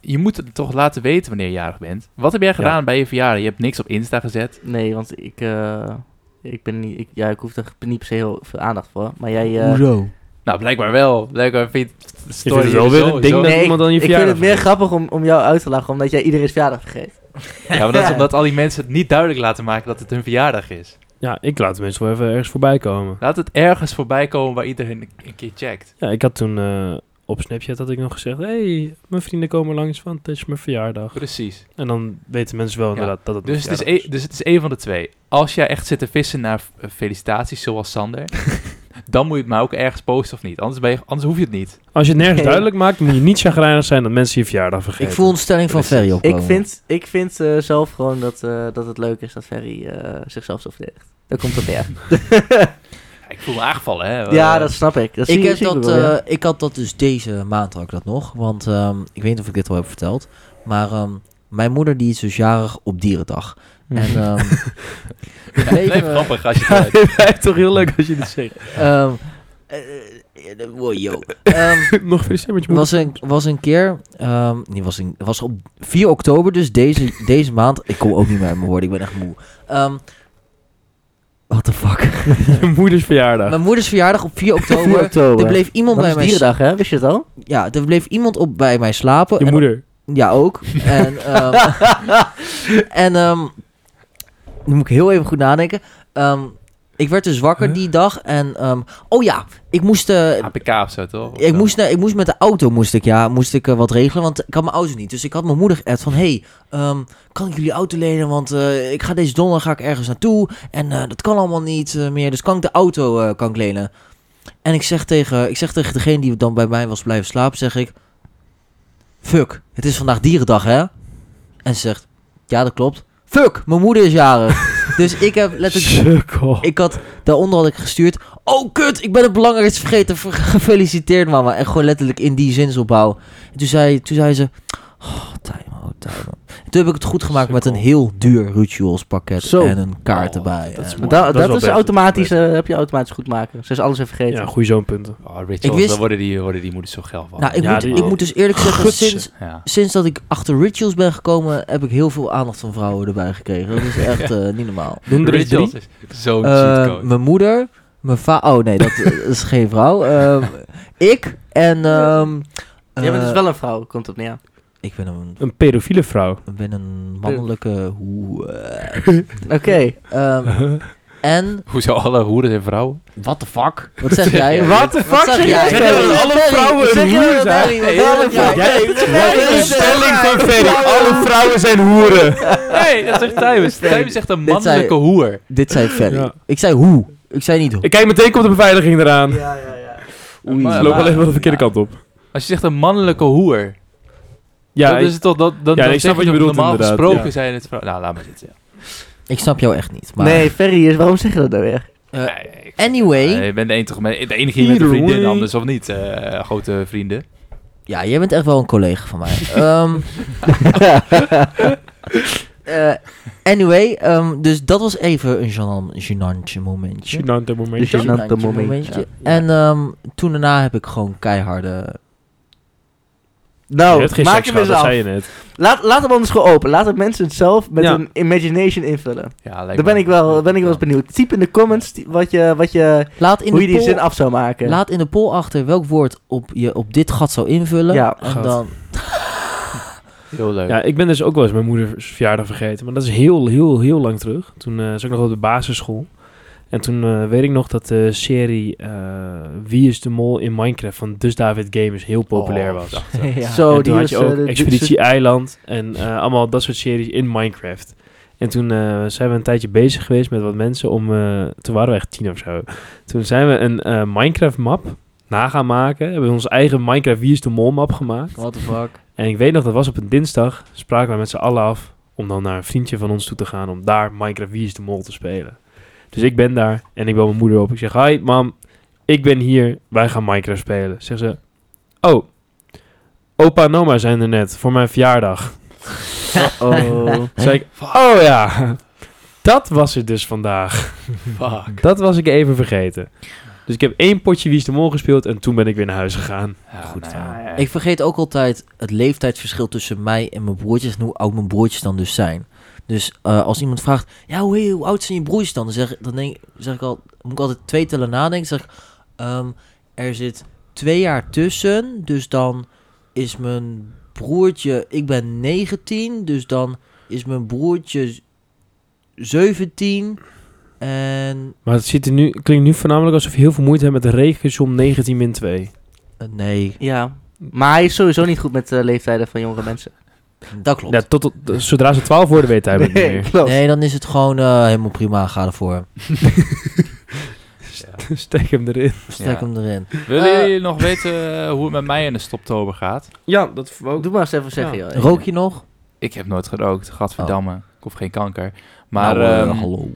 S2: Je moet het toch laten weten wanneer je jarig bent. Wat heb jij gedaan bij je verjaardag? Je hebt niks op Insta gezet.
S3: Nee, want ik, eh, ik ben niet... Ik, ja, ik hoef er niet per se heel veel aandacht voor. Maar jij... eh,
S5: Hoezo?
S2: Nou, blijkbaar wel. Blijkbaar vind je het
S4: vindt het wel weer een ding dat-
S3: ik-
S4: iemand dan je
S3: ik vind
S4: verjaardag
S3: het meer grappig om, om jou uit te lachen, omdat jij iedereen's verjaardag vergeet.
S2: Ja, maar dat is omdat al die mensen het niet duidelijk laten maken dat het hun verjaardag is.
S4: Ja, ik laat de mensen wel even ergens voorbij komen.
S2: Laat het ergens voorbij komen waar iedereen een keer checkt.
S4: Ja, ik had toen eh, op Snapchat had ik nog gezegd... hey, mijn vrienden komen langs, want het is mijn verjaardag.
S2: Precies.
S4: En dan weten mensen wel inderdaad dat het mijn
S2: Dus het, is
S4: verjaardag
S2: één- dus het is één van de twee. Als jij echt zit te vissen naar eh, felicitaties zoals [LAUGHS] Sander, dan moet je het maar ook ergens posten of niet. Anders, ben je, anders hoef je het niet.
S4: Als je het nergens
S3: Nee.
S4: duidelijk maakt, moet je niet chagrijnig zijn dat mensen je verjaardag vergeten.
S5: Ik voel een stelling van
S2: Precies.
S5: Ferry opkomen.
S3: Ik vind, ik vind eh, zelf gewoon dat, eh, dat het leuk is dat Ferry eh, zichzelf zo verdedigt. Daar komt het neer.
S2: Ja, Ik voel me aangevallen, hè.
S3: ja,
S2: Eh, [LAUGHS]
S3: dat snap ik. Dat
S5: Ik,
S3: zie,
S5: heb
S3: zie
S5: dat,
S3: wel, ja.
S5: eh, ik had dat dus deze maand had ik dat nog. Want ehm, ik weet niet of ik dit al heb verteld. Maar ehm, mijn moeder die is dus jarig op dierendag.
S3: Hmm.
S5: En
S4: [LAUGHS]
S5: ehm,
S3: [LAUGHS]
S5: [LAUGHS]
S2: Ja, het blijft
S5: eh,
S2: grappig als je het
S4: Ja,
S2: uit-
S5: [LAUGHS]
S4: het blijft toch heel leuk als je dit zegt. [LAUGHS]
S5: ehm, eh, wow, yo.
S3: [LAUGHS]
S5: Ehm,
S4: nog feliciteer met je moeder.
S5: was een, was een keer, ehm nee, was, een, was op 4 oktober, dus deze, deze maand. Ik kom ook niet meer uit mijn woorden, ik ben echt moe. Ehm what the fuck.
S4: [LAUGHS] Je moeders verjaardag.
S5: Mijn moeders verjaardag op 4
S3: 4
S5: oktober.
S3: oktober.
S5: Er bleef iemand
S3: dat
S5: bij
S3: is
S5: mij s-
S3: dierendag, hè? Wist je het al?
S5: Ja, er bleef iemand op bij mij slapen.
S4: Je
S5: En-
S4: moeder.
S5: Ja, ook. En, ehm, en ehm, nu moet ik heel even goed nadenken. Ehm, ik werd dus wakker die dag en... ehm, oh ja, ik moest... eh,
S2: APK of zo, toch? Of
S5: ik,
S2: zo.
S5: moest naar, ik moest met de auto moest ik, ja, moest ik eh, wat regelen, want ik had mijn auto niet. Dus ik had mijn moeder geappt van... Hey, ehm, kan ik jullie auto lenen? Want eh, ik ga deze donderdag ga ik ergens naartoe. En eh, dat kan allemaal niet eh, meer. Dus kan ik de auto eh, kan ik lenen? En ik zeg, tegen, ik zeg tegen degene die dan bij mij was blijven slapen, zeg ik... Fuck, het is vandaag dierendag, hè? En ze zegt, ja, dat klopt. Fuck, mijn moeder is jarig. dus ik heb letterlijk...
S4: Sukkel.
S5: Ik had, daaronder had ik gestuurd. Oh, kut, ik ben het belangrijkste vergeten. Ver- [LAUGHS] Gefeliciteerd, mama. En gewoon letterlijk in die zinsopbouw. En toen zei, toen zei ze... Oh, Tijmo, Tijmo. En Toen heb ik het goed gemaakt met een
S4: Sukkel.
S5: heel duur rituals pakket.
S3: Zo.
S5: En een kaart
S2: Oh,
S5: erbij.
S2: dat is
S5: En-
S2: mooi.
S3: dat
S4: dat
S3: dat
S4: is wel
S3: is
S4: beter.
S3: automatisch, eh, heb je automatisch goed maken. Ze is alles even vergeten.
S4: Ja, goede zoonpunten.
S2: Oh,
S5: Ik
S2: Rachel,
S5: wist-
S2: dan worden die, worden die moeders zo geil van.
S5: nou, ik,
S4: Ja,
S5: moet,
S4: die-
S5: ik moet dus eerlijk zeggen,
S4: Gutsen.
S5: sinds,
S2: ja.
S5: sinds dat ik achter rituals ben gekomen, heb ik heel veel aandacht van vrouwen erbij gekregen. Dat is echt eh, niet normaal.
S4: Noem er eens
S2: Rachel
S4: drie.
S2: is zo'n
S5: Eh,
S2: cheatcode.
S5: mijn moeder, mijn vader. Oh nee, dat eh, is geen vrouw. Ehm, ik en. ehm
S3: Jij bent dus
S5: eh,
S3: wel een vrouw, komt op neer.
S5: Ik ben een
S4: Een pedofiele vrouw.
S5: Ik ben een mannelijke hoe.
S3: Oké.
S4: [LAUGHS]
S5: ehm, En,
S2: Hoezo alle hoeren en vrouwen?
S5: what the fuck?
S4: [LAUGHS]
S5: Wat zeg jij?
S4: What the fuck?
S5: zeg
S4: Zeg
S5: jij?
S4: jij dat alle vrouwen een hoer zijn? Jij-
S5: Wat is
S4: stelling van Ferry. Alle vrouwen zijn hoeren.
S2: Nee, dat zegt Tijmen. Tijmen zegt een
S5: Dit zei-
S2: mannelijke hoer.
S5: Dit zei Ferry.
S4: [LAUGHS] Ja.
S5: Ik zei hoe. Ik zei niet hoe.
S4: Ik kijk meteen komt de beveiliging eraan.
S5: Ja, ja, ja.
S4: Oei,
S2: Maar-
S4: ze lopen
S2: maar-
S4: alleen wel de verkeerde kant op.
S2: Als je zegt een mannelijke hoer,
S4: Ja,
S2: dan
S4: ik-
S2: is het toch dat... Dan,
S4: Ja,
S2: dan
S4: ik snap
S2: zeg je
S4: wat je
S2: toch
S4: bedoelt
S2: Normaal
S4: inderdaad,
S2: gesproken
S4: ja.
S2: zijn het vrouwen. Nou, laat maar zitten. ja.
S5: Ik snap jou echt niet. Maar
S3: Nee, Ferry is, waarom zeg je dat nou weer?
S5: eh,
S2: Nee, ik-
S5: anyway.
S2: Nee, je bent de enige, de enige hier met een
S4: Either
S2: vriendin
S4: way.
S2: anders, of niet? eh, grote vrienden.
S5: Ja, jij bent echt wel een collega van
S4: [LAUGHS]
S5: mij. Ehm, eh, anyway, ehm, dus dat was even een gênant, gênantje momentje.
S4: Gênant
S3: Dus
S4: momentje.
S3: je- Gênante momentje.
S5: En ehm, toen daarna heb ik gewoon keiharde...
S4: Je
S3: Nou,
S4: hebt geen
S3: maak
S4: seks
S3: hem
S4: gehad,
S3: eens
S4: dat
S3: af.
S4: zei je net.
S3: Laat, laat hem anders gewoon open. Laat het mensen het zelf met
S4: Ja.
S3: hun imagination invullen.
S2: Ja, lijkt
S3: Daar
S2: me-
S3: ben ik wel, ben ik wel eens benieuwd. Typ in de comments die- wat je, wat je,
S5: Laat in
S3: hoe
S5: de
S3: je die
S5: poll-
S3: zin af zou maken.
S5: Laat in de poll achter welk woord op je op dit gat zou invullen.
S3: Ja,
S5: en
S3: [LAUGHS]
S4: gat.
S5: dan
S2: Heel leuk.
S4: Ja, ik ben dus ook wel eens mijn moeders verjaardag vergeten. Maar dat is heel, heel, heel lang terug. Toen eh zat ik nog op de basisschool. En toen eh, weet ik nog dat de serie eh, Wie is de Mol in Minecraft van Dus David Gamers heel populair
S2: Oh,
S4: was.
S2: dacht-
S3: ja.
S4: En
S3: Zo,
S4: toen
S3: die
S4: had
S3: was,
S4: je
S3: eh,
S4: ook
S3: de- de-
S4: Expeditie Eiland en eh, allemaal dat soort series in Minecraft. En toen eh, zijn we een tijdje bezig geweest met wat mensen om... eh, toen waren we echt tien of zo. Toen zijn we een eh, Minecraft-map na gaan maken. Hebben we onze eigen Minecraft Wie is de Mol-map gemaakt.
S5: what the fuck.
S4: En ik weet nog, dat was op een dinsdag. Spraken wij met z'n allen af om dan naar een vriendje van ons toe te gaan om daar Minecraft Wie is de Mol te spelen. Dus ik ben daar en ik bel mijn moeder op. Ik zeg, hi mam, ik ben hier. Wij gaan Minecraft spelen. Zegt ze, oh, opa en oma zijn er net voor mijn verjaardag.
S5: [LAUGHS]
S3: Oh.
S4: Zei ik, oh ja, [LAUGHS] dat was het dus vandaag.
S2: Fuck.
S4: Dat was ik even vergeten. Dus ik heb één potje Wie is de Mol gespeeld en toen ben ik weer naar huis gegaan.
S2: Ja,
S5: Goed
S2: nou
S5: verhaal.
S2: ja.
S5: Ik vergeet ook altijd het leeftijdsverschil tussen mij en mijn broertjes en hoe oud mijn broertjes dan dus zijn. Dus eh, als iemand vraagt, ja, hoe, hoe oud zijn je broertjes dan? Dan zeg, dan denk, zeg ik al, moet ik altijd twee tellen nadenken. Dan zeg ik, ehm, er zit twee jaar tussen, dus dan is mijn broertje, ik ben 19, dus dan is mijn broertje 17 en...
S4: Maar het ziet er nu, klinkt nu voornamelijk alsof je heel veel moeite hebt met de regensom 19 min 2.
S5: eh, nee,
S3: ja. Maar hij is sowieso niet goed met de leeftijden van jongere mensen.
S5: dat klopt.
S4: Ja, tot, tot- zodra ze 12 worden, weet hij het niet
S3: [LAUGHS]
S4: meer.
S3: klopt.
S5: Nee, dan is het gewoon eh, helemaal prima, ga ervoor.
S4: Steek hem erin.
S5: Stek
S2: Ja.
S5: hem erin.
S2: Willen
S5: Eh,
S2: jullie nog weten eh, hoe het met mij in de stoptober gaat?
S4: Ja, dat ook.
S3: Doe maar eens even zeggen, joh.
S5: Rook je nog?
S2: Ik heb nooit gerookt, gadverdamme.
S3: Oh.
S2: Ik hoef geen kanker. Maar
S5: Nou, eh,
S2: ehm,
S5: hallo.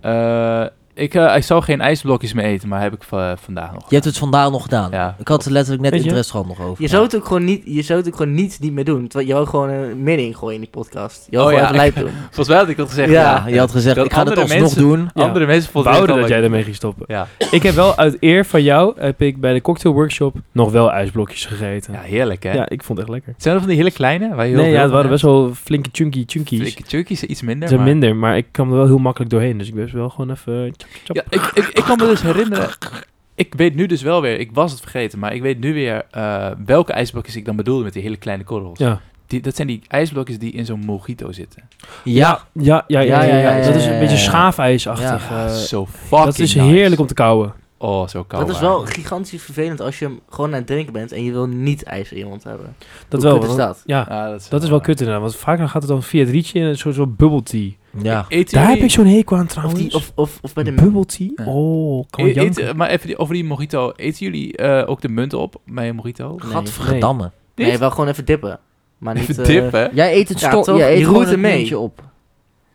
S2: eh, ik, eh, ik zou geen ijsblokjes meer eten, maar heb ik va- vandaag nog.
S5: Je hebt het vandaag nog gedaan.
S2: Ja.
S5: Ik had het letterlijk net
S4: Weet
S5: in
S4: je?
S5: het restaurant nog over.
S3: Je zou het ook gewoon niet, je zou het ook gewoon niet, niet meer doen. Terwijl je wou gewoon een midden in gooien in die podcast. Je wou
S2: Oh
S3: gewoon
S2: ja.
S3: even lijp
S5: [LAUGHS]
S3: doen.
S2: Volgens mij had ik dat gezegd.
S3: Ja,
S5: ja, je had gezegd,
S2: Dat
S5: ik ga het
S2: andere
S5: alsnog
S2: mensen-
S5: doen.
S4: Ja.
S2: Andere mensen vonden het
S4: Wouden
S2: wel
S4: dat jij
S2: leuk.
S4: ermee ging stoppen.
S2: Ja.
S4: Ik heb wel uit eer van jou, heb ik bij de cocktail workshop nog wel ijsblokjes gegeten.
S2: ja,
S4: Ja,
S2: heerlijk hè.
S4: ik vond het echt lekker.
S2: Zijn er van die hele kleine? Waar je heel
S4: nee,
S2: veel
S4: ja, het
S2: van
S4: waren
S2: hebt?
S4: best wel flinke chunky chunkies.
S2: Flinke chunkies, iets minder.
S4: Ze zijn
S2: maar-
S4: minder, maar ik kwam er wel heel makkelijk doorheen. Dus ik was wel gewoon even... chop, chop.
S2: Ja, ik, ik, ik kan me dus herinneren. Ik weet nu dus wel weer, ik was het vergeten, maar ik weet nu weer eh, welke ijsblokjes ik dan bedoelde met die hele kleine korrels.
S4: Ja.
S2: Die, dat zijn die ijsblokjes die in zo'n mojito zitten.
S5: Ja.
S4: Ja, ja, ja, ja,
S5: Ja, ja,
S4: ja.
S5: ja,
S4: Dat is
S5: ja,
S4: een
S5: ja,
S4: beetje
S5: ja.
S4: schaafijsachtig.
S2: Ja,
S4: eh,
S2: zo fucking
S4: dat is
S2: nice.
S4: heerlijk om te kauwen.
S2: Oh, zo koud.
S3: Dat is wel gigantisch vervelend als je hem gewoon aan het drinken bent en je wil niet ijs in je mond hebben.
S4: Dat
S3: Hoe
S4: wel.
S3: kut is
S4: want-
S3: dat?
S4: Ja,
S2: Ah, dat is,
S4: dat is wel kut inderdaad. Want vaak dan gaat het dan via het rietje in een soort van bubble tea.
S5: Ja.
S2: Eet
S4: Daar heb ik zo'n hekel aan
S3: Of,
S4: trouwens.
S3: die, of, of, of bij de...
S4: Bubble tea?
S2: Ja.
S4: Oh, kan
S2: Eet,
S4: je
S2: eet- maar even die- over die mojito. Eten jullie eh, ook de munt op bij een mojito?
S5: Gadverdamme.
S3: Nee, wel gewoon even dippen. Maar niet...
S2: [LAUGHS] Even
S3: eh,
S2: dippen.
S5: Jij eet het
S3: Ja,
S5: stok,
S3: toch?
S5: jij eet
S3: Je
S5: gewoon
S3: roert
S5: het
S3: hem mee.
S5: muntje op.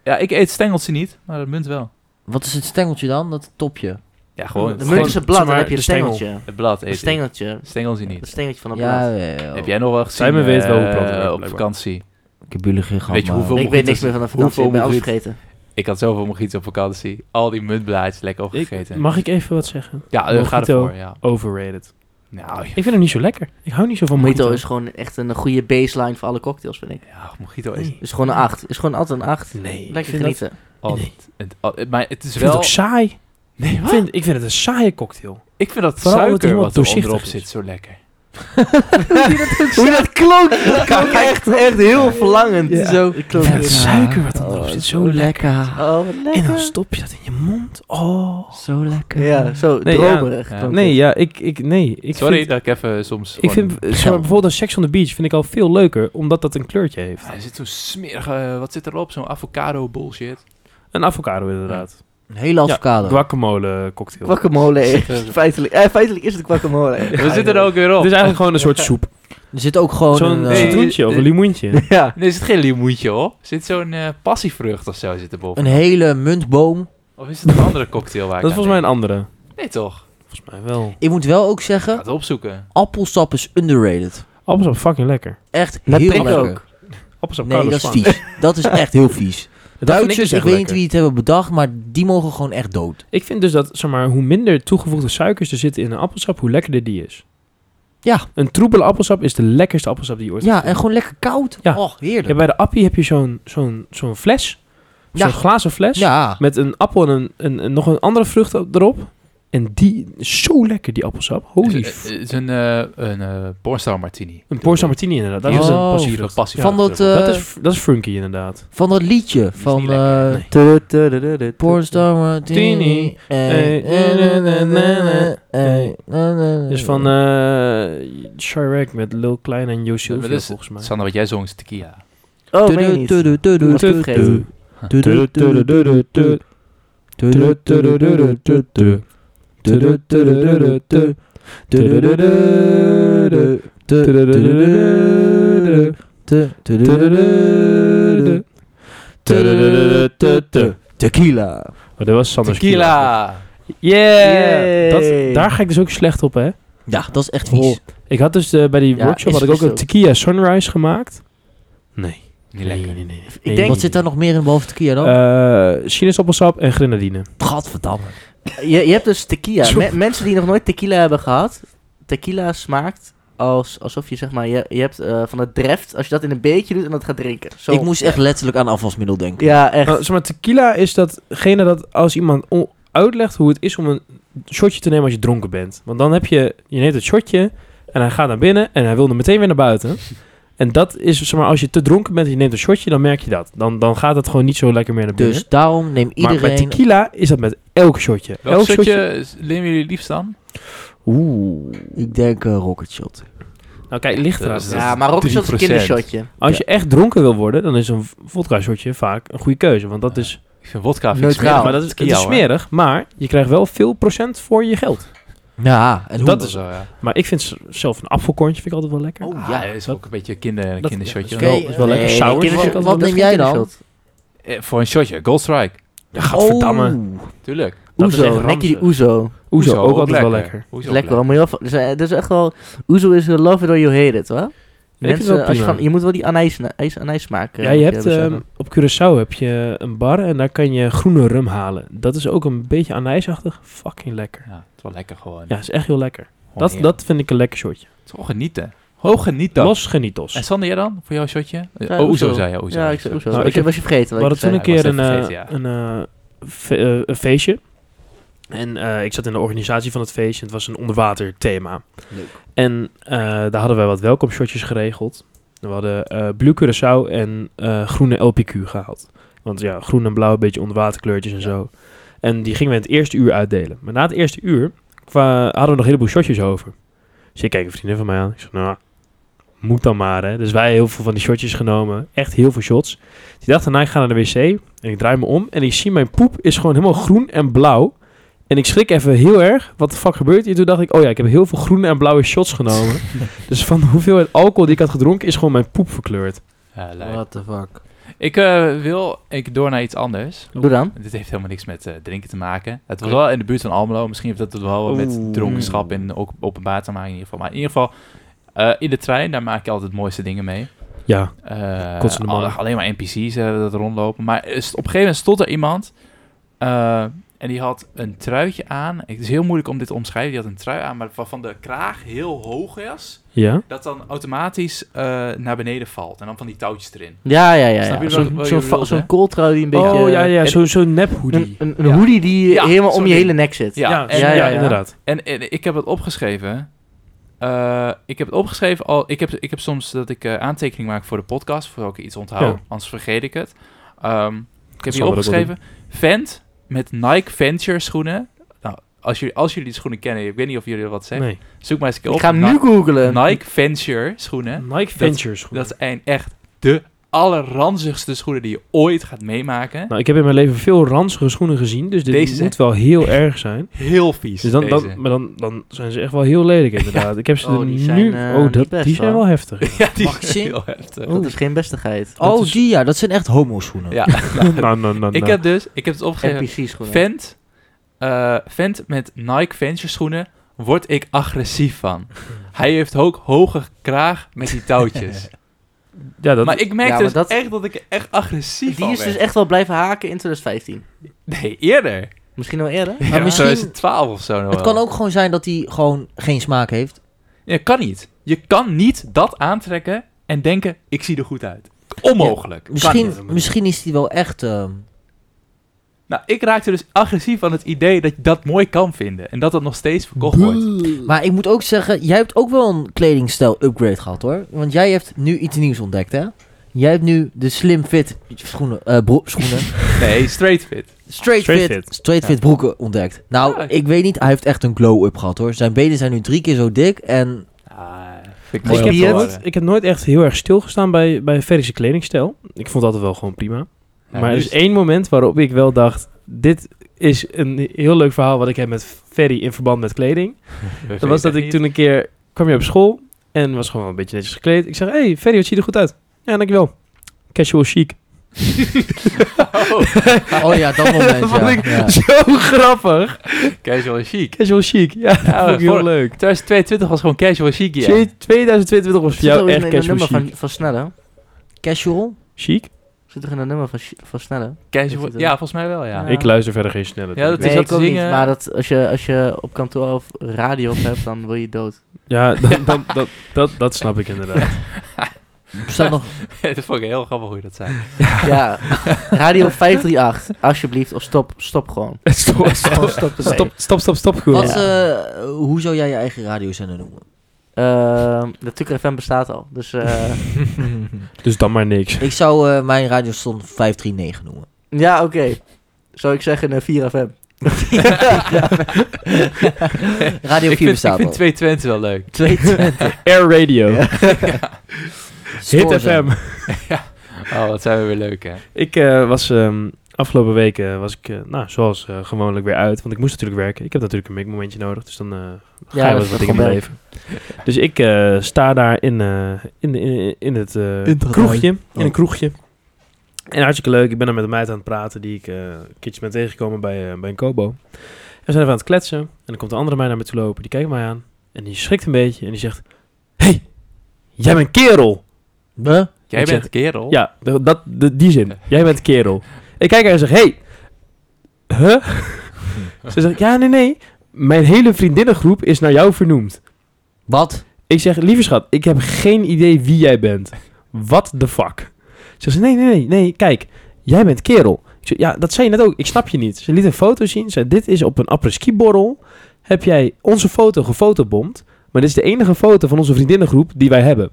S2: Ja, ik eet stengeltje niet, maar de munt wel.
S5: Wat is het stengeltje dan? Dat topje.
S2: Ja, gewoon.
S3: De
S2: het-
S3: munt is een blad,
S4: zeg
S3: dan
S4: maar,
S3: heb je een
S4: de stengel.
S3: stengeltje.
S2: Het blad
S3: Een
S2: eet ik.
S3: stengeltje.
S2: Stengeltje
S3: Een
S2: niet.
S3: stengeltje van een blad.
S5: Ja,
S2: Heb jij nog wel gezien?
S4: Simon weet wel hoe
S2: eh,
S4: plant werkt,
S2: Op
S4: blijkbaar.
S2: vakantie.
S5: Ik heb jullie geen gehad,
S2: Weet je
S5: maar-
S2: hoeveel-
S3: ik weet niks meer van de vakantie, ik
S2: Hoeveel
S3: ben alles
S2: moet dit?
S3: vergeten.
S2: Ik had zoveel mojitos op vakantie. Al die muntblaadjes lekker opgegeten.
S4: Mag eh, ik even wat zeggen?
S2: ja, eh, ga
S4: mojito.
S2: ervoor. Ja.
S4: Overrated.
S2: Nou,
S4: Ik vind hem niet zo lekker. Ik hou niet zo van mojito.
S3: Mojito is gewoon echt een goede baseline voor alle cocktails, vind ik.
S2: ja, mojito is...
S4: Nee.
S3: Is gewoon een 8. Is gewoon altijd een 8.
S4: Nee, ik
S3: Lekker
S4: vind dat-
S3: genieten.
S2: al-
S4: Nee.
S2: het- al- het- maar het is
S4: Ik vind het
S2: wel...
S4: ook saai.
S2: Nee,
S4: Ik
S2: wat?
S4: vind, ik vind het een saaie cocktail.
S2: Ik vind dat
S4: Vooral omdat
S2: suiker
S4: iemand
S2: wat er
S4: doorzichtig
S2: onderop
S4: is.
S2: zit zo lekker.
S3: Hoe dat kloot, dat klonk echt, echt heel verlangend.
S4: Ja.
S3: Zo.
S4: Ja, het suiker wat erop
S5: Oh,
S4: zit,
S5: zo
S4: zo lekker.
S5: lekker.
S3: Oh, wat lekker.
S4: En dan stop je dat in je mond. Oh.
S5: Zo lekker.
S3: Ja, zo
S4: Nee, ja.
S3: dromerig.
S2: Ja.
S3: klonk
S4: Nee,
S3: het.
S4: ja, ik, ik, nee. Ik
S2: Sorry
S4: Vind,
S2: dat ik even soms...
S4: ik
S2: gewoon-
S4: vind eh, zeg maar, bijvoorbeeld een Sex on the Beach vind ik al veel leuker, omdat dat een kleurtje heeft.
S2: Ja, er zit zo'n smerige... eh, Wat zit erop? Zo'n avocado bullshit.
S4: Een avocado inderdaad.
S5: Een hele avocado.
S4: Guacamole cocktail.
S3: Guacamole. is [LAUGHS] feitelijk, eh, feitelijk is het guacamole.
S2: Wat zit er ook weer op?
S4: Het is eigenlijk gewoon een soort soep.
S5: er zit ook gewoon
S4: Zo'n
S5: een, eh,
S2: nee.
S4: citroentje of een limoentje.
S3: ja.
S2: [LAUGHS] Nee, er zit geen limoentje op. Er zit zo'n eh, passievrucht of zo zit erboven.
S5: een hele muntboom.
S2: Of is het een andere cocktail waar ik
S4: Dat is
S2: aan
S4: volgens mij een
S2: denk?
S4: andere.
S2: Nee toch?
S4: Volgens mij wel.
S5: Ik moet wel ook
S2: Ga
S5: zeggen,
S2: het opzoeken.
S5: appelsap is underrated.
S4: Appelsap fucking lekker.
S5: Echt
S3: Met
S5: heel
S3: prik
S5: lekker.
S3: ook.
S4: Appelsap
S5: Nee, dat
S4: koude
S5: is
S4: slang.
S5: vies. Dat is echt heel vies.
S4: Dat vind
S5: Duitsers,
S4: dus
S5: ik,
S4: echt
S5: weet niet
S4: lekker.
S5: wie het hebben bedacht, maar die mogen gewoon echt dood.
S4: Ik vind dus dat, zeg maar, hoe minder toegevoegde suikers er zitten in een appelsap, hoe lekkerder die is.
S5: Ja.
S4: Een troebele appelsap is de lekkerste appelsap die je ooit
S5: Ja,
S4: hebt
S5: en gewoon lekker koud.
S4: Ja.
S5: Och,
S4: Ja,
S5: heerlijk.
S4: bij de appie heb je zo'n zo'n zo'n fles.
S5: Ja.
S4: Zo'n glazen fles.
S5: Ja,
S4: Met een appel en, een, een- een- nog een andere vrucht op- erop. En die is zo lekker, die appelsap.
S2: Het
S4: Holy
S2: is,
S4: f-
S2: het is een, eh een eh, pornstar martini.
S4: Een Porsa Martini inderdaad. Dat
S5: Oh.
S4: is een
S2: Een
S4: passievrucht.
S2: passievrucht.
S5: van, dat, eh,
S4: Dat is, fr- dat is funky inderdaad.
S5: van dat liedje
S2: is
S5: van
S2: niet lekker,
S5: eh
S4: nee.
S3: Tudu, tudu, tudu, tudu.
S5: Pornstar Martini.
S4: Tini.
S5: Eh,
S4: Eh,
S5: eh, eh, eh, eh,
S4: eh.
S5: eh, eh.
S4: Dus van eh Chirac met Lil Klein en Jo Silvio
S2: dat is-
S4: volgens mij.
S2: Sander, wat jij zong is tequila.
S3: Oh,
S5: Tudu,
S3: weet je niet.
S5: tudu, tudu,
S3: Doe maar
S5: tudu,
S3: teruggeten.
S5: tudu,
S4: Oh,
S5: tudu, tudu, tudu, tudu, tudu, tudu, tudu, tudu, tudu, tudu, tudu, tudu, tudu, tudu, tudu, tudu, tudu, tudu, tudu, tudu, tudu, tudu. Tequila.
S4: Oh, dat was Sander's
S2: Tequila!
S4: Yeah!
S3: Yay.
S4: Dat, daar ga ik dus ook slecht op, hè?
S5: Ja, dat is echt vies.
S4: Oh, Ik had dus eh, bij die
S3: Ja,
S4: workshop
S3: is
S4: had ik ook
S3: vies
S4: een
S3: ook.
S4: tequila sunrise gemaakt. Nee.
S2: Niet lekker.
S4: nee, nee.
S3: Ik denk-
S5: Wat zit daar nog meer in behalve tequila dan?
S4: Eh, sinaasappelsap en grenadine.
S5: Gadverdamme.
S3: Je, je hebt dus tequila.
S4: Zo.
S3: Me- mensen die nog nooit tequila hebben gehad, tequila smaakt als, alsof je zeg maar, je, je hebt eh, van het dreft, als je dat in een beetje doet en dat gaat drinken. Zo.
S5: Ik moest echt letterlijk aan afwasmiddel denken.
S3: Ja, echt.
S4: Nou, zeg maar, tequila is datgene dat als iemand o- uitlegt hoe het is om een shotje te nemen als je dronken bent. Want dan heb je, je neemt het shotje en hij gaat naar binnen en hij wil er meteen weer naar buiten. En dat is, zeg maar, als je te dronken bent en je neemt een shotje, dan merk je dat. Dan, dan gaat het gewoon niet zo lekker meer naar binnen.
S5: Dus daarom neem
S4: Maar bij
S5: iedereen...
S4: tequila is dat met elk shotje.
S2: Welk
S4: elk
S2: shotje nemen jullie liefst dan?
S4: Oeh.
S5: Ik denk eh, rocket shot.
S4: Nou kijk, ligt eraan.
S2: Dat is-
S3: ja, maar ook zo'n
S2: 3%.
S3: kindershotje.
S4: Als je echt dronken wil worden, dan is een v- vodka shotje vaak een goede keuze. Want dat
S2: Ja.
S4: is,
S2: Ik vind wodka vind ik
S3: Neutraal.
S2: smerig,
S4: maar Oh, dat is, het is
S2: hoor.
S4: smerig, maar je krijgt wel veel procent voor je geld.
S5: Ja, en
S4: Dat
S2: Dat is
S4: is-
S2: zo, ja.
S4: Maar ik vind z- zelf een appelkorntje vind ik altijd wel lekker.
S5: Oh,
S2: Ah,
S5: ja.
S2: dat is ook een beetje een kinder,
S4: Dat-
S2: kindershotje.
S4: dat is wel- is wel lekker. Sour is
S3: kindershot-
S5: wel-
S3: dat
S5: wat
S3: is
S5: neem
S3: geen
S5: jij dan?
S3: kindershot.
S2: Eh, voor een shotje, Gold Strike.
S4: Ja, gadverdamme.
S5: Oh.
S2: Tuurlijk.
S4: Dat is echt
S3: Oezo, nek je die
S4: ranzig.
S3: oezo.
S4: Oezo, ook, altijd wel lekker.
S2: Oezo ook
S3: Lekker, hoor, maar heel veel- dus, eh, dus echt wel, oezo is eh, love it or you hate it, hoor.
S4: vind het
S3: Mensen,
S4: wel
S3: als je,
S4: prima.
S3: van, je moet wel die anijs, anijs, eh, anijs maken.
S4: Ja, je hebt, ehm, op Curaçao heb je een bar en daar kan je groene rum halen. Dat is ook een beetje anijsachtig. Fucking lekker.
S2: Ja, het is wel lekker gewoon.
S4: Ja, is echt heel lekker.
S2: Gewoon
S4: Dat,
S2: heerlijk.
S4: dat vind ik een lekker shotje.
S2: Het is gewoon genieten. Hoog genieten.
S4: Los genitos.
S2: En Sander, jij dan? Voor jouw shotje?
S3: Ja,
S2: oh,
S3: oezo.
S2: Oezo zei je. Oezo.
S3: ja, ik zei oezo.
S4: Nou,
S3: Was
S4: ik
S3: je-
S4: heb-
S3: was je vergeten
S4: We
S3: wat ik
S4: hadden toen
S3: zei?
S4: een
S2: zei.
S4: keer
S2: Ja, ik
S4: een,
S2: was
S4: eh,
S2: even vergeten,
S4: een, eh, fe- eh, een feestje. En eh, ik zat in de organisatie van het feestje. Het was een onderwater thema.
S5: Leuk.
S4: En eh, daar hadden wij wat welkomshotjes geregeld. We hadden eh blue Curaçao en eh, groene LPQ gehaald. Want ja, groen en blauw, een beetje onderwaterkleurtjes en zo. En die gingen we in het eerste uur uitdelen. Maar na het eerste uur kwa- hadden we nog een heleboel shotjes over. Dus ik kijk een vriendin van mij aan. Ik zeg, nou, moet dan maar hè. Dus wij heel veel van die shotjes genomen. Echt heel veel shots. Die dacht daarna, ik ga naar de wc. En ik draai me om. En ik zie mijn poep is gewoon helemaal groen en blauw. En ik schrik even heel erg. Wat de fuck gebeurt hier? Toen dacht ik, oh ja, ik heb heel veel groene en blauwe shots genomen.
S2: [LAUGHS]
S4: dus van de hoeveelheid alcohol die ik had gedronken, is gewoon mijn poep verkleurd.
S2: Ja, leuk.
S5: What the fuck.
S2: Ik eh, wil ik door naar iets anders.
S3: Doe dan.
S2: Dit heeft helemaal niks met eh, drinken te maken. Het was wel in de buurt van Almelo. Misschien heeft dat het wel met
S4: Oeh.
S2: dronkenschap en ook openbaar te maken in ieder geval. Maar in ieder geval, eh, in de trein, daar maak je altijd de mooiste dingen mee.
S4: Ja.
S2: Eh,
S4: Kotsende
S2: al-
S4: mannen.
S2: alleen maar NPC's eh, dat rondlopen. Maar er is- op een gegeven moment stond er iemand. eh, en die had een truitje aan. Het is heel moeilijk om dit te omschrijven. Die had een trui aan, maar waarvan de kraag heel hoog is.
S4: Oh, Ja?
S2: Dat dan automatisch eh, naar beneden valt. En dan van die touwtjes erin.
S3: Ja, ja, ja.
S2: Snap
S3: ja.
S2: je wat-
S3: Zo'n
S2: wat
S3: zo'n
S2: je
S3: va-
S2: bedoelt,
S3: zo'n
S2: hè?
S3: kooltrui die een beetje... eh,
S4: oh ja, ja,
S2: en-
S4: zo'n zo nep hoodie.
S3: Een, een, een
S2: Ja.
S3: hoodie die
S2: Ja,
S3: helemaal om
S2: zo'n
S3: je
S2: ding.
S3: hele nek zit.
S2: Ja,
S4: Ja,
S2: en,
S4: ja,
S3: ja, ja.
S4: inderdaad.
S2: En, en ik heb het opgeschreven. Eh, ik heb het opgeschreven al. Ik heb, ik heb soms dat ik eh aantekening maak voor de podcast, voor ook iets onthoud,
S4: Ja.
S2: anders vergeet ik het. Ehm, ik heb
S4: zal
S2: hier
S4: wel dat wel
S2: opgeschreven: Vent met Nike Venture schoenen. Nou, als jullie, als jullie die schoenen kennen, ik weet niet of jullie er wat zeggen.
S4: Nee.
S2: Zoek maar eens een keer op.
S3: Ik ga hem
S2: Ni-
S3: nu googlen.
S2: Nike Venture schoenen.
S4: Nike Ventures. goed.
S2: Dat zijn echt de allerranzigste schoenen die je ooit gaat meemaken.
S4: Nou, ik heb in mijn leven veel ranzige schoenen gezien, dus dit
S2: Deze zijn
S4: moet wel heel erg zijn.
S2: Heel vies.
S4: Dus dan,
S2: deze.
S4: dan, maar dan, dan zijn ze echt wel heel lelijk
S2: [LAUGHS]
S4: inderdaad. Ik heb ze
S3: Oh,
S4: er
S3: die
S4: nu...
S3: zijn, eh,
S4: oh,
S3: niet
S4: dat,
S3: best,
S4: die zijn
S3: hoor.
S4: wel heftig.
S2: ja, die
S5: Mag ik
S2: is
S5: zien?
S2: heel heftig.
S4: Oh.
S3: Dat is geen bestigheid.
S5: Oh,
S4: is-
S5: die ja, dat zijn echt homo-schoenen.
S2: [LAUGHS] Ja,
S4: nou, nou, nou, nou.
S2: ik heb dus, ik heb het opgegeven.
S3: NPC schoenen.
S2: Vent, eh, vent met Nike Venture schoenen word ik agressief van. Hij heeft ook hoge kraag met die touwtjes.
S4: Ja, dat,
S2: maar ik merk
S3: Ja, maar
S2: dus
S3: dat-
S2: echt dat ik er echt
S3: Die
S2: agressief van
S3: is dus
S2: werd.
S3: echt wel blijven haken in 2015.
S2: Nee, eerder.
S3: Misschien wel eerder.
S2: Ja, maar
S5: misschien-
S2: 2012 of zo nog
S5: Het
S2: wel.
S5: kan ook gewoon zijn dat hij gewoon geen smaak heeft.
S2: Ja, kan niet. Je kan niet dat aantrekken en denken, ik zie er goed uit. Onmogelijk. Kan niet.
S5: Misschien, misschien is hij wel echt... ehm,
S2: Nou, ik raakte dus agressief aan het idee dat je dat mooi kan vinden. En dat dat nog steeds verkocht wordt.
S5: Maar ik moet ook zeggen, jij hebt ook wel een kledingstijl upgrade gehad hoor. Want jij hebt nu iets nieuws ontdekt hè? Jij hebt nu de slim fit schoenen, eh, bro- schoenen
S2: Nee, straight fit.
S5: straight,
S4: Straight
S5: fit,
S4: fit.
S5: straight fit broeken ontdekt. Nou,
S2: Ja.
S5: ik weet niet, hij heeft echt een glow-up gehad hoor. Zijn benen zijn nu drie keer zo dik en
S2: Vind
S4: Ik
S2: mooi
S4: heb,
S2: om te
S3: Gespierd.
S4: nooit,
S2: horen.
S4: ik heb nooit echt heel erg stilgestaan bij, bij Ferrische kledingstijl. Ik vond dat wel gewoon prima.
S2: Ja,
S4: maar er
S2: nu
S4: is
S2: is-
S4: één moment waarop ik wel dacht... Dit is een heel leuk verhaal wat ik heb met Ferry in verband met kleding. Dat was
S2: [LAUGHS]
S4: dat ik toen een keer... kwam je op school en was gewoon wel een beetje netjes gekleed. Ik zeg, hey, Ferry, wat zie je er goed uit? Ja, dankjewel. Casual chic.
S5: Oh ja, dat moment. ja.
S4: vond ik [LAUGHS]
S5: Ja.
S4: zo grappig.
S2: Casual chic.
S4: Casual chic. Ja, dat
S2: Ja,
S4: vond ik heel
S2: voor-
S4: leuk.
S2: 2022 was gewoon casual chic, ja.
S4: Twee- 2022 was voor
S3: Zit er ook
S4: jou
S3: in,
S4: echt
S3: in een
S4: casual
S3: nummer
S4: chic.
S3: van, van Snelle?
S5: Casual?
S4: Chic?
S3: Zit er in een nummer van, van Snelle?
S2: Casual, ja, volgens mij wel, ja.
S3: Ja.
S4: Ik luister verder geen snelle.
S2: Ja, dat
S4: dingen.
S2: is
S3: Nee, ik
S2: te
S3: ook niet.
S2: zingen.
S3: Maar dat, als, je, als je op kantoor of radio op hebt, dan wil je dood.
S4: ja [LAUGHS] dan, dan, dat, dat, dat snap ik inderdaad.
S5: Bestaat nog...
S2: [LAUGHS] dat vond ik heel grappig hoe je dat zei.
S3: Ja. Radio 538, alsjeblieft. Of stop, stop gewoon.
S4: [LAUGHS] Stop, stop,
S3: stop ermee.
S4: stop, stop, stop, stop, goed.
S5: Wat,
S3: Ja.
S5: eh, hoe zou jij je eigen radiozender noemen?
S3: Ehm, de Tukker FM bestaat al. Dus eh, [LAUGHS]
S4: Dus dan maar niks.
S5: Ik zou eh, mijn radiostation 539 noemen.
S3: ja, oké. Zou ik zeggen eh, een 4FM.
S5: Radio
S2: ik
S5: 4
S2: vind, ik
S5: bestaat
S2: vind
S5: al.
S2: 220 wel leuk.
S4: [LAUGHS] Air Radio. Hit
S5: Stoorzender.
S4: FM.
S2: Oh, wat zijn we weer leuk, hè.
S4: Ik eh, was ehm, afgelopen week, eh, was ik, eh, nou, zoals eh, gewoonlijk weer uit. Want ik moest natuurlijk werken. Ik heb natuurlijk een mikmomentje nodig. Dus dan eh,
S3: Ja,
S4: ga je
S3: dat
S4: wel
S3: is
S4: wat
S3: wel
S4: dingen
S3: werk.
S4: beleven. Dus ik eh, sta daar in, eh, in, in, in het eh,
S5: In het
S4: kroegje.
S5: Oh.
S4: In een kroegje. En hartstikke leuk. Ik ben er met een meid aan het praten die ik eh, een keertje ben tegengekomen bij, eh, bij een kobo. En we zijn even aan het kletsen. En dan komt een andere meid naar me toe lopen. Die kijkt mij aan. En die schrikt een beetje. En die zegt, hey, jij bent kerel.
S5: Huh?
S2: Jij
S4: Ik
S2: bent
S4: zeg-
S2: kerel.
S4: Ja, de- dat, de- die zin. Jij bent kerel. Ik kijk haar en zeg, hey, huh? [LAUGHS] Ze zegt, ja, nee, nee. Mijn hele vriendinnengroep is naar jou vernoemd.
S5: Wat?
S4: Ik zeg, lieve schat, ik heb geen idee wie jij bent. What the fuck? Ze zegt, nee, nee, nee, nee, kijk, jij bent kerel. Ik zeg, ja, dat zei je net ook, ik snap je niet. Ze liet een foto zien, ze zei, dit is op een apres-ski borrel. Heb jij onze foto gefotobomd, maar dit is de enige foto van onze vriendinnengroep die wij hebben.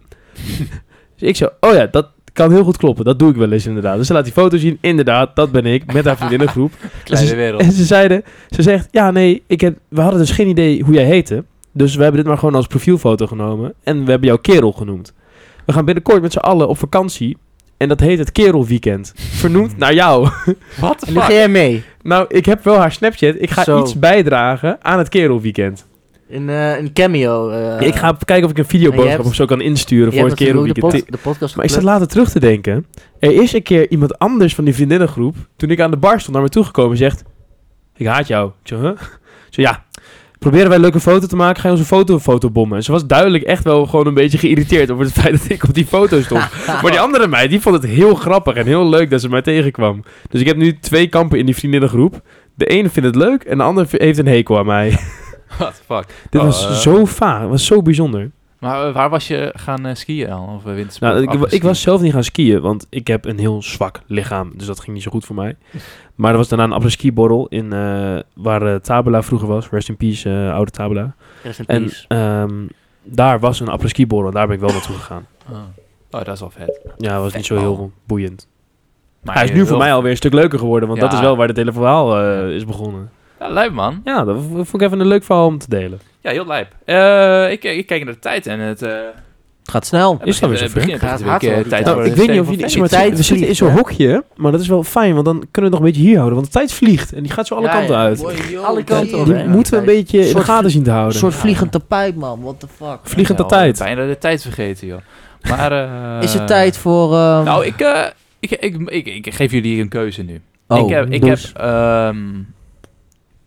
S4: dus ik zo, oh ja, dat kan heel goed kloppen, dat doe ik wel eens inderdaad. Dus ze laat die foto zien, inderdaad, dat ben ik, met haar vriendinnengroep.
S2: Kleine
S4: Dus- [LAUGHS]
S2: wereld.
S4: En ze zeiden, ze zegt, ja nee, ik heb, we hadden dus geen idee hoe jij heette. Dus we hebben dit maar gewoon als profielfoto genomen. En we hebben jou kerel genoemd. We gaan binnenkort met z'n allen op vakantie. En dat heet het Kerel Weekend.
S3: Hmm.
S4: Vernoemd naar
S3: [LAUGHS]
S4: jou.
S2: Wat de
S3: En nu
S2: fuck?
S3: ga jij mee.
S4: Nou, ik heb wel haar Snapchat. Ik ga
S3: Zo.
S4: iets bijdragen aan het Kerel Weekend.
S3: In eh, een cameo. eh.
S4: ik ga kijken of ik een
S3: en je
S4: videoboodschap
S3: hebt-
S4: of zo kan insturen
S3: Jij
S4: voor het
S3: hebt
S4: Kerel
S3: natuurlijk
S4: Weekend.
S3: ook de, pod- de podcast
S4: Maar ik zat
S3: geplukt.
S4: later terug te denken. Er is een keer iemand anders van die vriendinnengroep, toen ik aan de bar stond, naar me toegekomen en zegt... Ik haat jou. Ik zo, huh? Ik zo, ja. Proberen wij een leuke foto te maken, ga je onze foto fotobommen. En ze was duidelijk echt wel gewoon een beetje geïrriteerd over het [LAUGHS] feit dat ik op die
S2: [LAUGHS]
S4: foto stond. maar die andere meid, die vond het heel grappig en heel leuk dat ze mij tegenkwam. Dus ik heb nu twee kampen in die vriendinnengroep. De ene vindt het leuk en de ander v- heeft een hekel aan mij. [LAUGHS]
S2: What the fuck?
S4: Dit
S2: Oh,
S4: was
S2: eh,
S4: zo vaag, het was zo bijzonder.
S2: Maar eh, waar was je gaan eh, skiën dan? Of eh, wintersport?
S4: Nou, ik,
S2: afgeskiën?
S4: ik was zelf niet gaan skiën, want ik heb een heel zwak lichaam. Dus dat ging niet zo goed voor mij. Maar er was daarna een apres-ski borrel in, eh, waar eh, Tabula vroeger was. Rest in peace, eh, oude Tabula.
S3: Rest in
S4: En
S3: peace.
S4: ehm, daar was een apres-ski borrel. Daar ben ik wel naartoe gegaan.
S2: Oh, dat is wel vet.
S4: Ja, dat was niet zo heel boeiend.
S2: Maar
S4: Hij is nu voor mij alweer een stuk leuker geworden, want dat
S2: Ja.
S4: is wel waar dit hele verhaal eh, is begonnen.
S2: Ja, lijp man.
S4: Ja, dat v- vond ik even een leuk verhaal om te delen.
S2: Ja, heel lijp. Eh, ik, ik kijk naar de tijd en het... eh,
S5: Het gaat snel.
S4: Is dat weer zover?
S2: begint
S3: Gaat
S2: natuurlijk,
S3: hard
S2: eh,
S3: worden,
S2: tijd
S3: die
S2: voor
S4: Nou, ik
S2: de
S4: weet niet of
S2: Steen van
S4: je het
S3: Fame.
S4: maar
S3: Tijd
S4: tijd, we zitten in zo'n
S3: vliegt,
S4: hokje, maar dat is wel fijn, want dan kunnen we nog een beetje hier houden, want de tijd vliegt en die gaat zo alle
S2: Ja,
S4: kanten
S2: ja.
S4: uit.
S5: Alle kanten op,
S4: Die
S5: hè?
S4: moeten we een beetje in de
S5: Soort
S4: gaten zien te houden.
S5: Een soort vliegend tapijt, man. What the fuck.
S4: vliegende
S2: Ja,
S4: tijd.
S2: Bijna de tijd vergeten, joh. Maar... eh,
S5: [LAUGHS] Is het tijd voor... ehm,
S2: Nou, ik, eh, ik, ik, ik, ik geef jullie een keuze nu.
S5: oh,
S2: ik heb, ik
S5: dus-
S2: heb, ehm,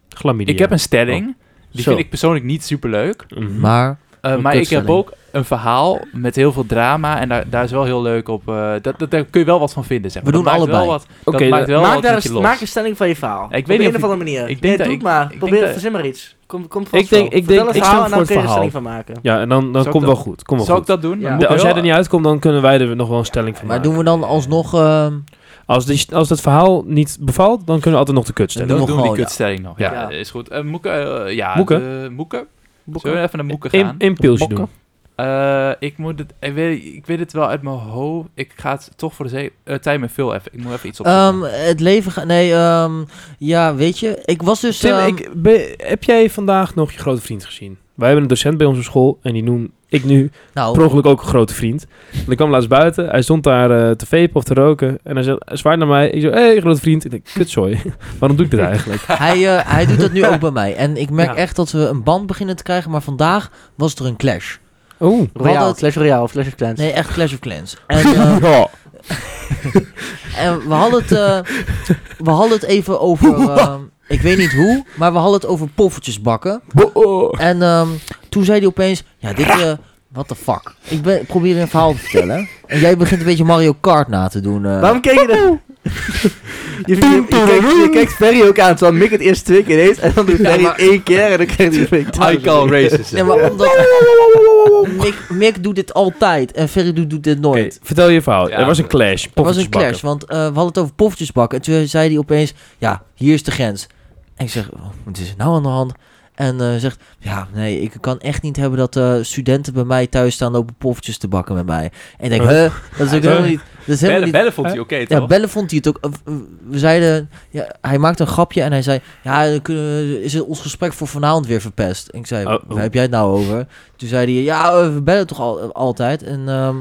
S4: Glamidia.
S2: ik heb een stelling. Die
S5: Zo.
S2: vind ik persoonlijk niet superleuk.
S4: Mhm.
S5: Maar...
S2: Eh,
S5: Een
S2: maar ik heb
S5: kutstelling.
S2: ook een verhaal met heel veel drama. En daar, daar is wel heel leuk op. eh, dat, dat, daar kun je wel wat van vinden. Zeg.
S5: We
S2: maar. Dat
S5: doen
S2: maakt wel
S5: allebei.
S2: wat-
S4: Oké,
S2: dat
S4: eh,
S2: maakt
S4: dat-
S2: wel
S3: maak,
S2: wat
S3: daar
S2: met je
S3: een,
S2: los.
S3: maak een stelling van je verhaal. Op
S2: weet
S3: de
S2: niet
S3: een
S2: of
S3: of
S2: ik-
S3: andere manier.
S2: ik denk
S3: Nee,
S2: dat
S3: doe
S2: ik-
S3: het maar.
S2: ik
S3: Probeer,
S2: denk dat-
S3: verzin maar iets. Kom, kom vast
S4: Ik denk-
S3: wel.
S4: ik
S3: Vertel
S4: denk-
S3: het
S4: ik
S3: verhaal
S4: sta
S3: en dan
S4: voor
S3: kun je er
S4: het
S3: stelling van maken.
S4: Ja, en dan,
S2: Zou
S4: dan
S2: ik
S4: komt
S2: dat-
S4: wel goed. Kom wel
S2: Zou ik dat
S4: goed.
S2: doen?
S3: Ja.
S2: Dan moet
S4: De-
S2: ik
S4: als jij
S2: wel-
S4: er niet uitkomt, dan kunnen wij er nog wel een stelling van
S5: Maar
S4: maken.
S5: doen we dan alsnog... ehm,
S4: Als, die, als dat verhaal niet bevalt, dan kunnen we altijd nog de kut
S2: Dan
S4: stellen.
S5: Doe
S2: doen we,
S5: nog gewoon,
S2: die
S5: ja.
S2: kutstelling nog. Ja,
S4: Ja.
S2: is goed. Eh Moeke, eh, ja,
S4: Moeke?
S2: de- Moeke. Zullen we even naar Moeke gaan?
S4: Eén één pilsje
S2: Mokken?
S4: doen.
S2: Eh, ik, moet het, ik, weet, ik weet het wel uit mijn hoofd. Ik ga het toch voor de zee, eh, tijd met veel even. Ik moet even iets opzoeken.
S5: ehm, het leven gaat... Nee, ehm, ja, weet je. Ik was dus...
S4: Tim,
S5: ehm,
S4: ik, ben- heb jij vandaag nog je grote vriend gezien? Wij hebben een docent bij onze school en die noem ik nu
S5: nou,
S4: per ongeluk ook een grote vriend. Want ik kwam laatst buiten, hij stond daar eh, te vapen of te roken en hij, zei, hij zwaait naar mij. Ik zei, hé hey, grote vriend. Ik denk, kutzooi, [LAUGHS] waarom doe ik dit eigenlijk?
S5: hij, eh,
S4: [LAUGHS]
S5: hij doet dat nu ook bij mij. En ik merk
S4: Ja.
S5: echt dat we een band beginnen te krijgen. Maar vandaag was er een clash.
S4: Oeh.
S3: Royal,
S5: hadden-
S3: Clash Royale of Clash of Clans.
S5: Nee, echt Clash of Clans. En, eh,
S2: [LAUGHS]
S4: Ja.
S5: En we hadden het, eh, we hadden het even over. ehm, ik weet niet hoe, maar we hadden het over poffertjes bakken.
S4: oh.
S5: En ehm, toen zei hij opeens: Ja, dit. eh what the fuck? Ik ben, ik probeer een verhaal te vertellen. En jij begint een beetje Mario Kart na te doen. eh.
S3: Waarom keek je dat? [LAUGHS] Je, je, je, kijkt, je kijkt Ferry ook aan, terwijl Mick het eerst twee keer deed. En dan doet Ferry
S5: maar-
S3: het één keer en dan krijgt hij twee keer.
S2: races.
S5: Nee, maar omdat. Mick, Mick doet dit altijd en Ferry doet, doet dit
S4: Oké,
S5: nooit.
S4: vertel je verhaal.
S2: Ja.
S4: er was een clash.
S5: Er was een
S4: poffertjes bakken.
S5: clash, want eh, we hadden het over poffertjes bakken. En toen zei hij opeens, ja, hier is de grens. En ik zeg, oh, wat is er nou aan de hand? En eh, zegt, ja, nee, ik kan echt niet hebben dat eh, studenten bij mij thuis staan lopen poffertjes te bakken met mij. En ik denk,
S4: Huh?
S5: huh, dat is ook helemaal niet... Dat is helemaal
S2: Bellen, bellen
S5: niet
S2: vond hij oké,
S5: ja,
S2: toch?
S5: Bellen vond hij het ook. eh, We zeiden, ja, hij maakte een grapje en hij zei, ja, dan kunnen we- is het ons gesprek voor vanavond weer verpest? En ik zei,
S4: Oh, oh.
S5: waar heb jij het nou over? Toen zei hij, ja, eh, we bellen toch al, altijd? En ehm,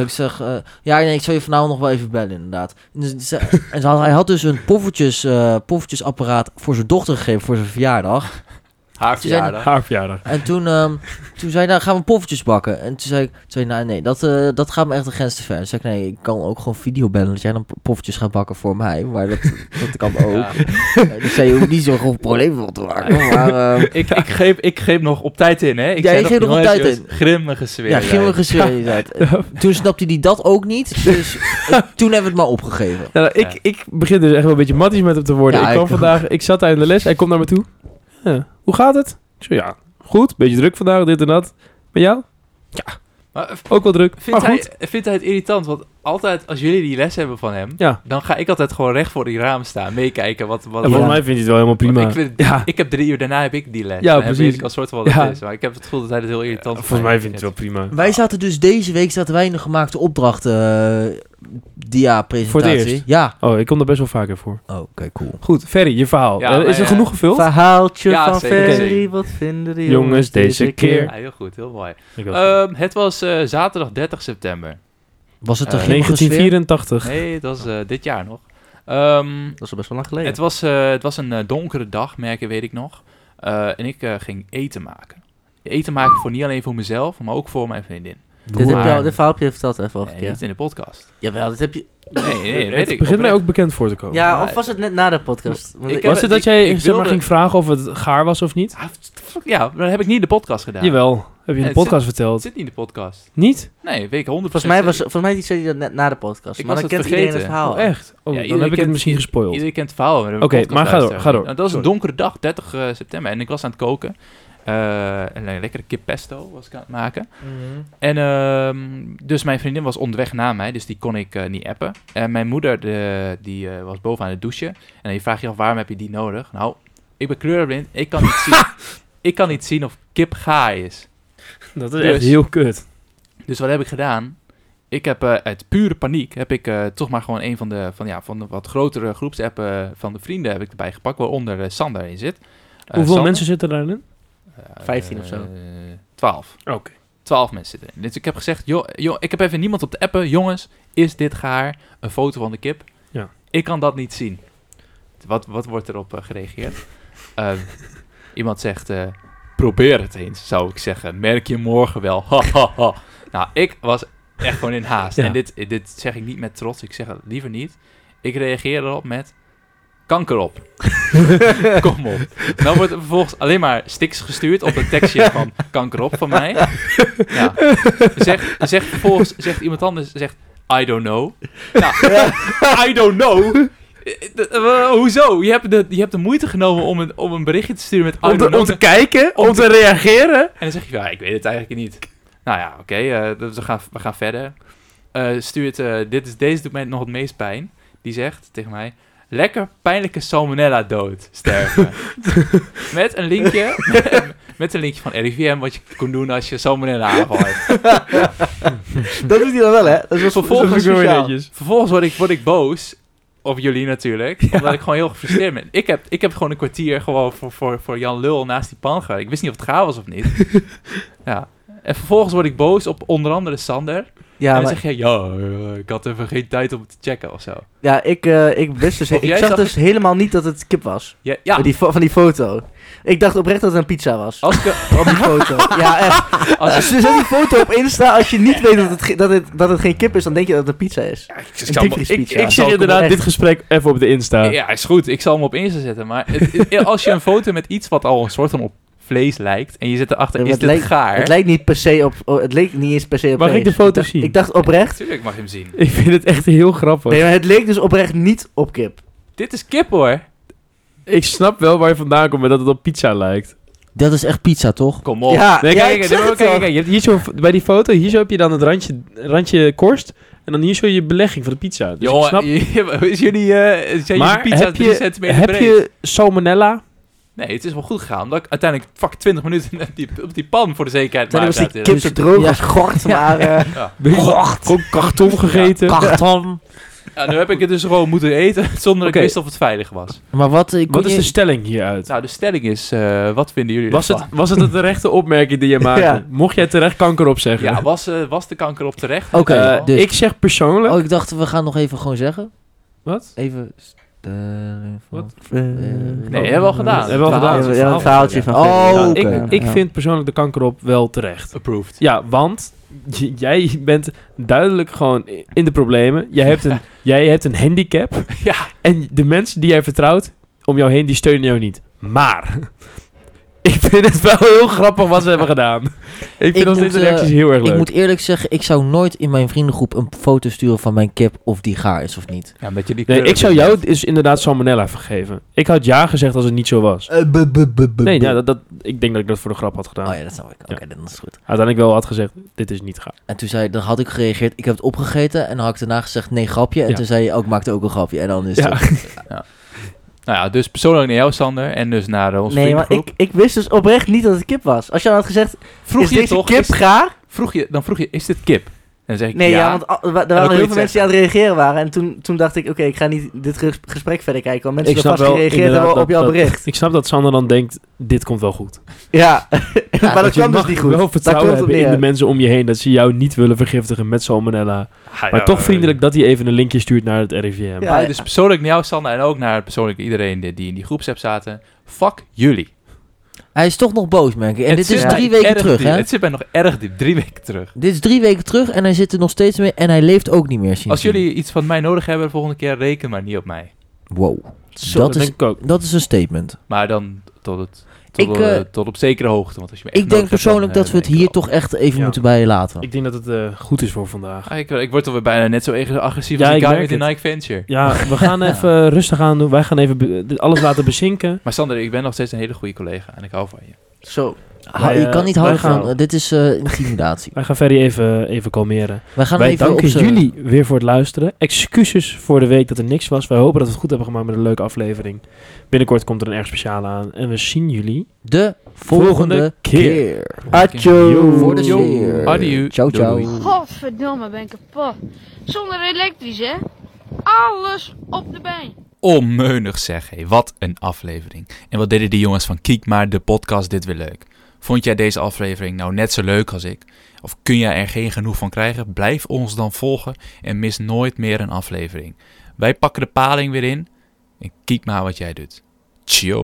S4: [LAUGHS]
S5: ik zeg, eh, ja, nee, ik zal je vanavond nog wel even bellen, inderdaad. En, dus ze- en ze had- hij had dus een poffertjes, eh, poffertjesapparaat voor zijn dochter gegeven voor zijn verjaardag.
S2: Haar
S5: Ze zijn-
S2: verjaardag.
S4: Haar verjaardag.
S5: En toen, ehm, toen zei hij, nou, gaan we poffertjes bakken? En toen zei ik, toen zei, hij, nou, nee, dat, eh, dat gaat me echt de grens te ver. Toen zei ik, nee, ik kan ook gewoon video bellen dat jij dan poffertjes gaat bakken voor mij. Maar dat, dat kan ook.
S2: [LAUGHS] Ja.
S5: Eh, Dus zij hoeft niet zo'n groot probleem van te maken. Maar ehm,
S2: Ik, ik, greep, ik greep nog op tijd in, hè? Ik
S5: Ja,
S2: zei
S5: je greep nog op
S2: jongens,
S5: tijd
S2: jongens, Grimmige sfeer.
S5: ja,
S2: zei
S5: grimmige seriësheid. Eh,
S2: [LAUGHS]
S5: Toen snapte hij dat ook niet. Dus eh, toen hebben we het maar opgegeven.
S4: Nou, ik,
S2: Ja.
S4: ik begin dus echt wel een beetje matties met hem te worden.
S5: Ja,
S4: ik kwam
S5: ik-
S4: vandaag, ik zat daar in de les, hij komt naar me toe. Ja, hoe gaat het? Ik zo, ja, goed, beetje druk vandaag, dit en dat. Met jou?
S2: ik. Maar, eh,
S4: Ook wel druk,
S2: vindt,
S4: maar goed.
S2: hij, vindt hij het irritant? Want altijd als jullie die les hebben van hem,
S4: Ja.
S2: dan ga ik altijd gewoon recht voor die raam staan, meekijken wat... wat
S4: En
S2: wat-
S4: volgens mij vindt hij het wel helemaal prima.
S2: Ik, vind-
S4: ja,
S2: ik heb drie uur daarna heb ik die les.
S4: Ja,
S2: En dan
S4: precies.
S2: weet ik al soort van wat
S4: Ja.
S2: het is. Maar ik heb het gevoel dat hij het heel irritant
S4: volgens mij vindt hij het wel prima.
S5: Wij zaten dus deze week zaten wij in de gemaakte opdrachten eh,
S4: Voor
S5: dia-presentatie.
S4: het eerst?
S5: Ja.
S4: Oh, ik kom daar best wel vaker voor.
S5: Oh, oké, cool.
S4: Goed, Ferry, je verhaal.
S2: Ja,
S4: Eh,
S2: maar
S4: is er
S2: ja.
S4: genoeg gevuld?
S3: Verhaaltje
S2: Ja,
S3: van
S2: zeker,
S3: Ferry,
S2: zeker.
S3: wat vinden de
S4: Jongens, deze keer.
S2: Ja, heel goed, heel mooi.
S4: Ik wil-
S2: Ehm, het was eh, zaterdag 30 september.
S5: Was het een
S2: Eh,
S5: grimmige sfeer?
S4: 1984.
S2: Nee, het was eh, dit jaar nog.
S4: Oh
S2: Ehm,
S3: Dat is al best wel lang geleden.
S2: het, was, eh, het was een eh, donkere dag, merken weet ik nog. Eh, en ik eh, ging eten maken. Eten maken voor niet alleen voor mezelf, maar ook voor mijn vriendin.
S3: dit, heb je al,
S2: Maar-
S3: dit verhaal heb je verteld hè, vorige
S2: Nee,
S3: keer.
S2: niet in de
S4: [LAUGHS]
S2: podcast.
S3: Jawel, dit heb je...
S2: Nee, nee, dat weet
S4: het
S2: ik.
S4: begint mij
S2: oprecht.
S4: ook bekend voor te komen.
S3: Ja,
S2: maar-
S3: of was het net na de podcast? Want
S2: Oh, Ik
S3: ik-
S2: heb-
S4: was het dat
S2: ik-
S4: jij
S2: ik
S4: zeg maar,
S2: wilde-
S4: ging vragen of het gaar was of niet?
S2: Ah, fuck, Ja, maar dat heb ik niet in de podcast gedaan.
S4: Jawel, heb je
S2: het
S4: in de
S2: zit-
S4: podcast
S2: Het
S4: verteld.
S2: zit niet in de podcast.
S4: Niet?
S2: Nee, weet ik
S3: Volgens
S2: 100%.
S3: mij, was, volgens mij die zei hij dat net na de podcast.
S2: Ik
S3: maar
S2: was
S3: dan
S2: het
S3: kent iedereen het
S2: vergeten.
S3: verhaal. [LAUGHS]
S4: Oh, echt? Oh,
S2: Ja,
S4: dan
S2: iedereen
S4: heb ik het
S2: kent-
S4: misschien gespoild.
S2: Iedereen kent het verhaal. maar we
S4: Oké,
S2: hebben een
S4: maar ga door,
S2: podcastluisteraar.
S4: ga door.
S2: Nou, dat was een
S4: Sorry.
S2: donkere dag, 30 eh, september. En ik was aan het koken. Eh, een le- lekkere kip pesto was ik aan het maken. En ehm, dus mijn vriendin was onderweg na mij, dus die kon ik eh, niet appen. En mijn moeder de, die, eh, was boven aan het douchen. En dan vraag je af, waarom heb je die
S4: [LAUGHS]
S2: nodig? Nou, ik ben kleurenblind, ik kan niet zien, ik kan niet zien of kip gaar is.
S4: Dat is
S2: Dus-
S4: echt heel kut.
S2: Dus wat heb ik gedaan? Ik heb eh, uit pure paniek, heb ik eh, toch maar gewoon een van de, van, ja, van de wat grotere groepsappen eh, van de vrienden heb ik erbij gepakt, waaronder eh, Sander in zit. Eh,
S4: Hoeveel
S2: Sander-
S4: mensen zitten daarin?
S2: Eh,
S3: 15 of zo.
S2: 12.
S4: Oké.
S2: 12 mensen zitten erin. Dus ik heb gezegd, joh, joh, ik heb even niemand op de appen. Jongens, is dit gaar? Een foto van de kip?
S4: Ja.
S2: Ik kan dat niet zien. Wat, wat wordt erop eh, gereageerd? [LAUGHS] Ehm, iemand zegt, eh, probeer het eens, zou ik zeggen. Merk je morgen wel. [LAUGHS] Ha, ha, ha. Nou, ik was echt gewoon in haast.
S4: Ja.
S2: En dit, dit zeg ik niet met trots, ik zeg het liever niet. Ik reageer erop met, kanker
S4: [LAUGHS]
S2: op. Kom op. Dan wordt er vervolgens alleen maar stiks gestuurd op een tekstje van kanker op van mij. Ja. Zegt, zegt vervolgens zegt iemand anders, zegt I don't know. Nou, I don't know. Eh, eh, eh, hoezo? Je hebt, de, je hebt de moeite genomen om een, om een berichtje te sturen met I
S4: Om
S2: don't
S4: te,
S2: know.
S4: om te kijken, om,
S2: om
S4: te reageren.
S2: En dan zeg je, ja, ik weet het eigenlijk niet. Nou ja, oké, eh, dus we, gaan, we gaan verder. Eh, stuurt, eh, dit is, deze doet mij nog het meest pijn. Die zegt tegen mij, lekker pijnlijke salmonella dood
S4: [LAUGHS]
S2: sterven. met een linkje, met een linkje van RIVM, wat je kon doen als je salmonella aanval hebt.
S5: Dat doet hij dan wel, hè? Dat is wel
S2: Vervolgens,
S5: dat is wel speciaal.
S2: vervolgens word, ik, word ik boos. Op jullie natuurlijk. Omdat ik gewoon heel gefrustreerd ben. Ik heb, ik heb gewoon een kwartier gewoon voor, voor, voor Jan Lul naast die pan gehouden. Ik wist niet of het gaar was of
S3: [LAUGHS]
S2: niet. ja. En vervolgens word ik boos op onder andere Sander.
S3: Ja,
S2: en
S3: maar-
S2: dan zeg je, ja, eh, ik had even geen tijd om te checken of zo.
S3: Ja, ik, eh, ik wist dus...
S2: Of
S3: Ik
S2: jij
S3: zag
S2: zag
S3: dus helemaal niet dat het kip was.
S2: Ja, ja. Oh.
S3: Van, Oh, die fo- van die foto. Ik dacht oprecht dat het een pizza was.
S2: Als
S3: [LAUGHS]
S2: ik,
S3: Op die
S2: [LAUGHS]
S3: foto. Ja, echt.
S2: Als-
S3: Als je zet die foto op Insta, als je niet weet dat het, ge- dat het, dat het geen kip is, dan denk je dat het een pizza is.
S2: ja, ik,
S3: zal me- ik- ik Ja,
S4: Ik zit
S3: zal ik hem
S4: inderdaad
S3: echt-
S4: dit gesprek even op de Insta.
S2: Ja, is goed. Ik zal hem op Insta zetten. Maar het- het- als je een foto met iets wat al een soort van op vlees lijkt... en je zit erachter,
S3: Ja,
S2: is
S3: maar
S2: dit
S3: het lijkt-
S2: gaar?
S3: Het lijkt niet per se op... oh, Het leek niet eens per se op
S4: Mag ik
S3: vlees.
S4: de foto
S3: ik dacht,
S4: zien?
S3: Ik dacht oprecht...
S2: Tuurlijk mag je hem zien.
S4: Ik vind het echt heel grappig.
S3: Nee, maar het leek dus oprecht niet op kip.
S2: Dit is kip, hoor.
S4: Ik snap wel waar je vandaan komt, maar dat het op pizza lijkt.
S5: Dat is echt pizza, toch?
S2: Kom op.
S3: Ja,
S4: Nee,
S3: ja,
S4: kijk,
S3: ik
S4: kijk,
S3: zeg
S4: kijk,
S3: het
S4: kijk,
S3: al.
S4: kijk, je hebt hier zo, bij die foto, hier zo heb je dan het randje, randje korst. En dan hier zo je belegging van de pizza. Dus ik
S2: Jongen,
S4: snap.
S2: [LAUGHS] is jullie, eh zijn
S4: Maar
S2: jullie pizza's
S4: heb
S2: 3
S4: je-
S2: centimeter
S4: Heb
S2: breed?
S4: je salmonella?
S2: Nee, het is wel goed gegaan. Omdat ik uiteindelijk fuck 20 minuten [LAUGHS] op die, op die pan voor de zekerheid
S3: Toen was die
S2: maakte.
S3: kip zo droog
S5: Ja.
S3: als gort, maar... eh,
S4: Gewoon [LAUGHS] karton gegeten.
S5: Karton.
S2: Ja, nu heb ik het dus gewoon moeten eten [LAUGHS] zonder
S4: Oké.
S2: ik wist of het veilig was.
S5: Maar wat... Ik
S4: Wat is
S5: je-
S4: de stelling hieruit?
S2: Nou, de stelling is, eh, wat vinden jullie
S4: Was
S2: ervan?
S4: het, was het een terechte opmerking [LAUGHS] die je maakte?
S3: Ja.
S4: Mocht jij terecht kanker op zeggen?
S2: Ja, was, eh, was de kanker op terecht?
S5: Oké,
S4: Eh,
S5: dus-
S4: Ik zeg persoonlijk.
S5: Oh, ik dacht, we gaan nog even gewoon zeggen.
S4: Wat?
S5: Even... stelling van-
S4: Wat?
S3: eh,
S2: [LAUGHS] Nee, hebben we al gedaan.
S4: Hebben we al
S3: ja,
S4: gedaan.
S3: ja, een verhaaltje van...
S5: Oh,
S3: Ja,
S5: oké.
S4: Ik, ik
S3: ja.
S4: vind persoonlijk de kanker op wel terecht.
S2: Approved.
S4: [LAUGHS] Ja, want j- jij bent duidelijk gewoon i- in de problemen. Jij hebt [LAUGHS] een, jij hebt een handicap.
S2: Ja.
S4: En de mensen die jij vertrouwt om jou heen, die steunen jou niet. Maar [LAUGHS] ik vind het wel heel grappig wat ze hebben gedaan. [LAUGHS] Ik eh,
S5: Ik
S4: vind ons
S5: moet,
S4: deze reacties heel erg leuk.
S5: Ik moet eerlijk zeggen, ik zou nooit in mijn vriendengroep een foto sturen van mijn kip of die gaar is of niet.
S2: Ja, omdat je die
S4: Nee,
S2: kleur-
S4: ik zou jou dus inderdaad salmonella vergeven. Ik had ja gezegd als het niet zo was.
S3: Eh,
S4: Nee, ja, dat, dat, ik denk dat ik dat voor de grap had gedaan.
S5: Oh ja, dat snap ik. Oké, dan is het goed.
S4: Uiteindelijk wel had gezegd, dit is niet gaar.
S5: En toen zei dan had ik gereageerd, ik heb het opgegeten. En dan had ik daarna gezegd, nee, grapje. En
S4: Ja.
S5: toen zei je, ook ik maakte ook een grapje. En dan is
S4: Ja.
S5: het...
S2: Nou ja, dus persoonlijk naar jou, Sander. En dus naar onze
S3: Nee, maar ik, ik wist dus oprecht niet dat het kip was. Als je dan had gezegd,
S2: Vroeg
S3: is
S2: je
S3: deze
S2: toch,
S3: kip
S2: is-
S3: gaar?
S2: vroeg je, dan vroeg je, is dit kip? En dan zeg ik,
S3: Nee, ja,
S2: ja.
S3: want al- wa- er
S2: kun je
S3: waren heel
S2: het
S3: veel mensen die aan het reageren waren. En toen, toen dacht ik, oké, ik ga niet dit ges- gesprek verder kijken. Want mensen
S4: Ik
S3: hebben
S4: snap
S3: vast
S4: wel
S3: gereageerd hebben
S4: inderdaad
S3: op jouw
S4: dat- dat- [LAUGHS]
S3: bericht.
S4: Ik snap dat Sander dan denkt, dit komt wel goed.
S3: Ja, [LAUGHS] maar dat
S4: je
S3: kwam dus
S4: mag
S3: niet goed.
S4: wel
S3: Daar
S4: vertrouwen
S3: komt het
S4: hebben in
S3: neer.
S4: de mensen om je heen dat ze jou niet willen vergiftigen met salmonella.
S2: Ah,
S4: Maar
S2: ja,
S4: toch vriendelijk dat hij even een linkje stuurt naar het RIVM.
S3: Ja.
S2: Ja,
S5: Eh,
S2: dus persoonlijk naar jou, Sander. En ook naar persoonlijk iedereen die, die in die groepsapp zaten. Fuck jullie.
S5: Hij is toch nog boos, merk ik. En
S2: Het
S5: dit
S2: zit
S5: is
S2: mij
S5: drie weken
S2: erg
S5: terug,
S2: diep.
S5: hè?
S2: Het zit mij nog erg diep. Drie weken terug.
S5: Dit is drie weken terug en hij zit er nog steeds mee. En hij leeft ook niet meer, sindsdien.
S2: Als jullie iets van mij nodig hebben de volgende keer, reken maar niet op mij.
S5: Wow.
S4: Zo,
S5: dat, is,
S4: denk ik ook.
S5: dat is een statement.
S2: Maar dan tot, het, tot,
S5: Ik,
S2: eh,
S5: eh,
S2: tot op zekere hoogte. Want als je me echt
S5: Ik denk
S2: nodig hebt, dan,
S5: persoonlijk
S2: eh,
S5: dat we het
S2: reken
S5: hier
S2: wel.
S5: toch echt even
S4: Ja.
S5: moeten bij laten.
S4: Ik denk dat het eh, goed is voor vandaag.
S2: Ah, ik, ik word alweer bijna net zo ag- agressief
S4: Ja,
S2: als
S4: ik
S2: die guy
S4: merk
S2: met die
S4: het.
S2: Nike Venture.
S4: Ja, we
S3: [LAUGHS]
S4: gaan even eh, rustig aan doen. Wij gaan even be- dit alles laten bezinken.
S2: Maar Sander, ik ben nog steeds een hele goede collega en ik hou van je.
S3: Zo.
S5: Ha-
S4: Wij,
S5: je
S4: eh,
S5: kan niet
S4: wij
S5: houden
S4: gaan-
S5: van... eh, dit is eh, intimidatie.
S4: Wij gaan Ferry even, eh, even kalmeren.
S5: Wij gaan
S4: Wij
S5: even
S4: danken
S5: op z'n-
S4: jullie weer voor het luisteren. Excuses voor de week dat er niks was. Wij hopen dat we het goed hebben gemaakt met een leuke aflevering. Binnenkort komt er een erg speciale aan. En we zien jullie
S5: de volgende,
S4: Volgende keer.
S5: keer.
S4: Yo.
S5: Voor de
S2: Yo.
S5: sfeer.
S2: Adieu.
S5: Ciao,
S2: Doei,
S5: ciao.
S2: doei.
S4: Mm.
S6: Godverdomme, ben ik kapot. Zonder elektrisch, hè? Alles op de been.
S2: Onmeunig zeg, hé. Wat een aflevering. En wat deden die jongens van Kiek maar de podcast dit weer leuk. Vond jij deze aflevering nou net zo leuk als ik? Of kun jij er geen genoeg van krijgen? Blijf ons dan volgen en mis nooit meer een aflevering. Wij pakken de paling weer in en kiek maar wat jij doet. Ciao.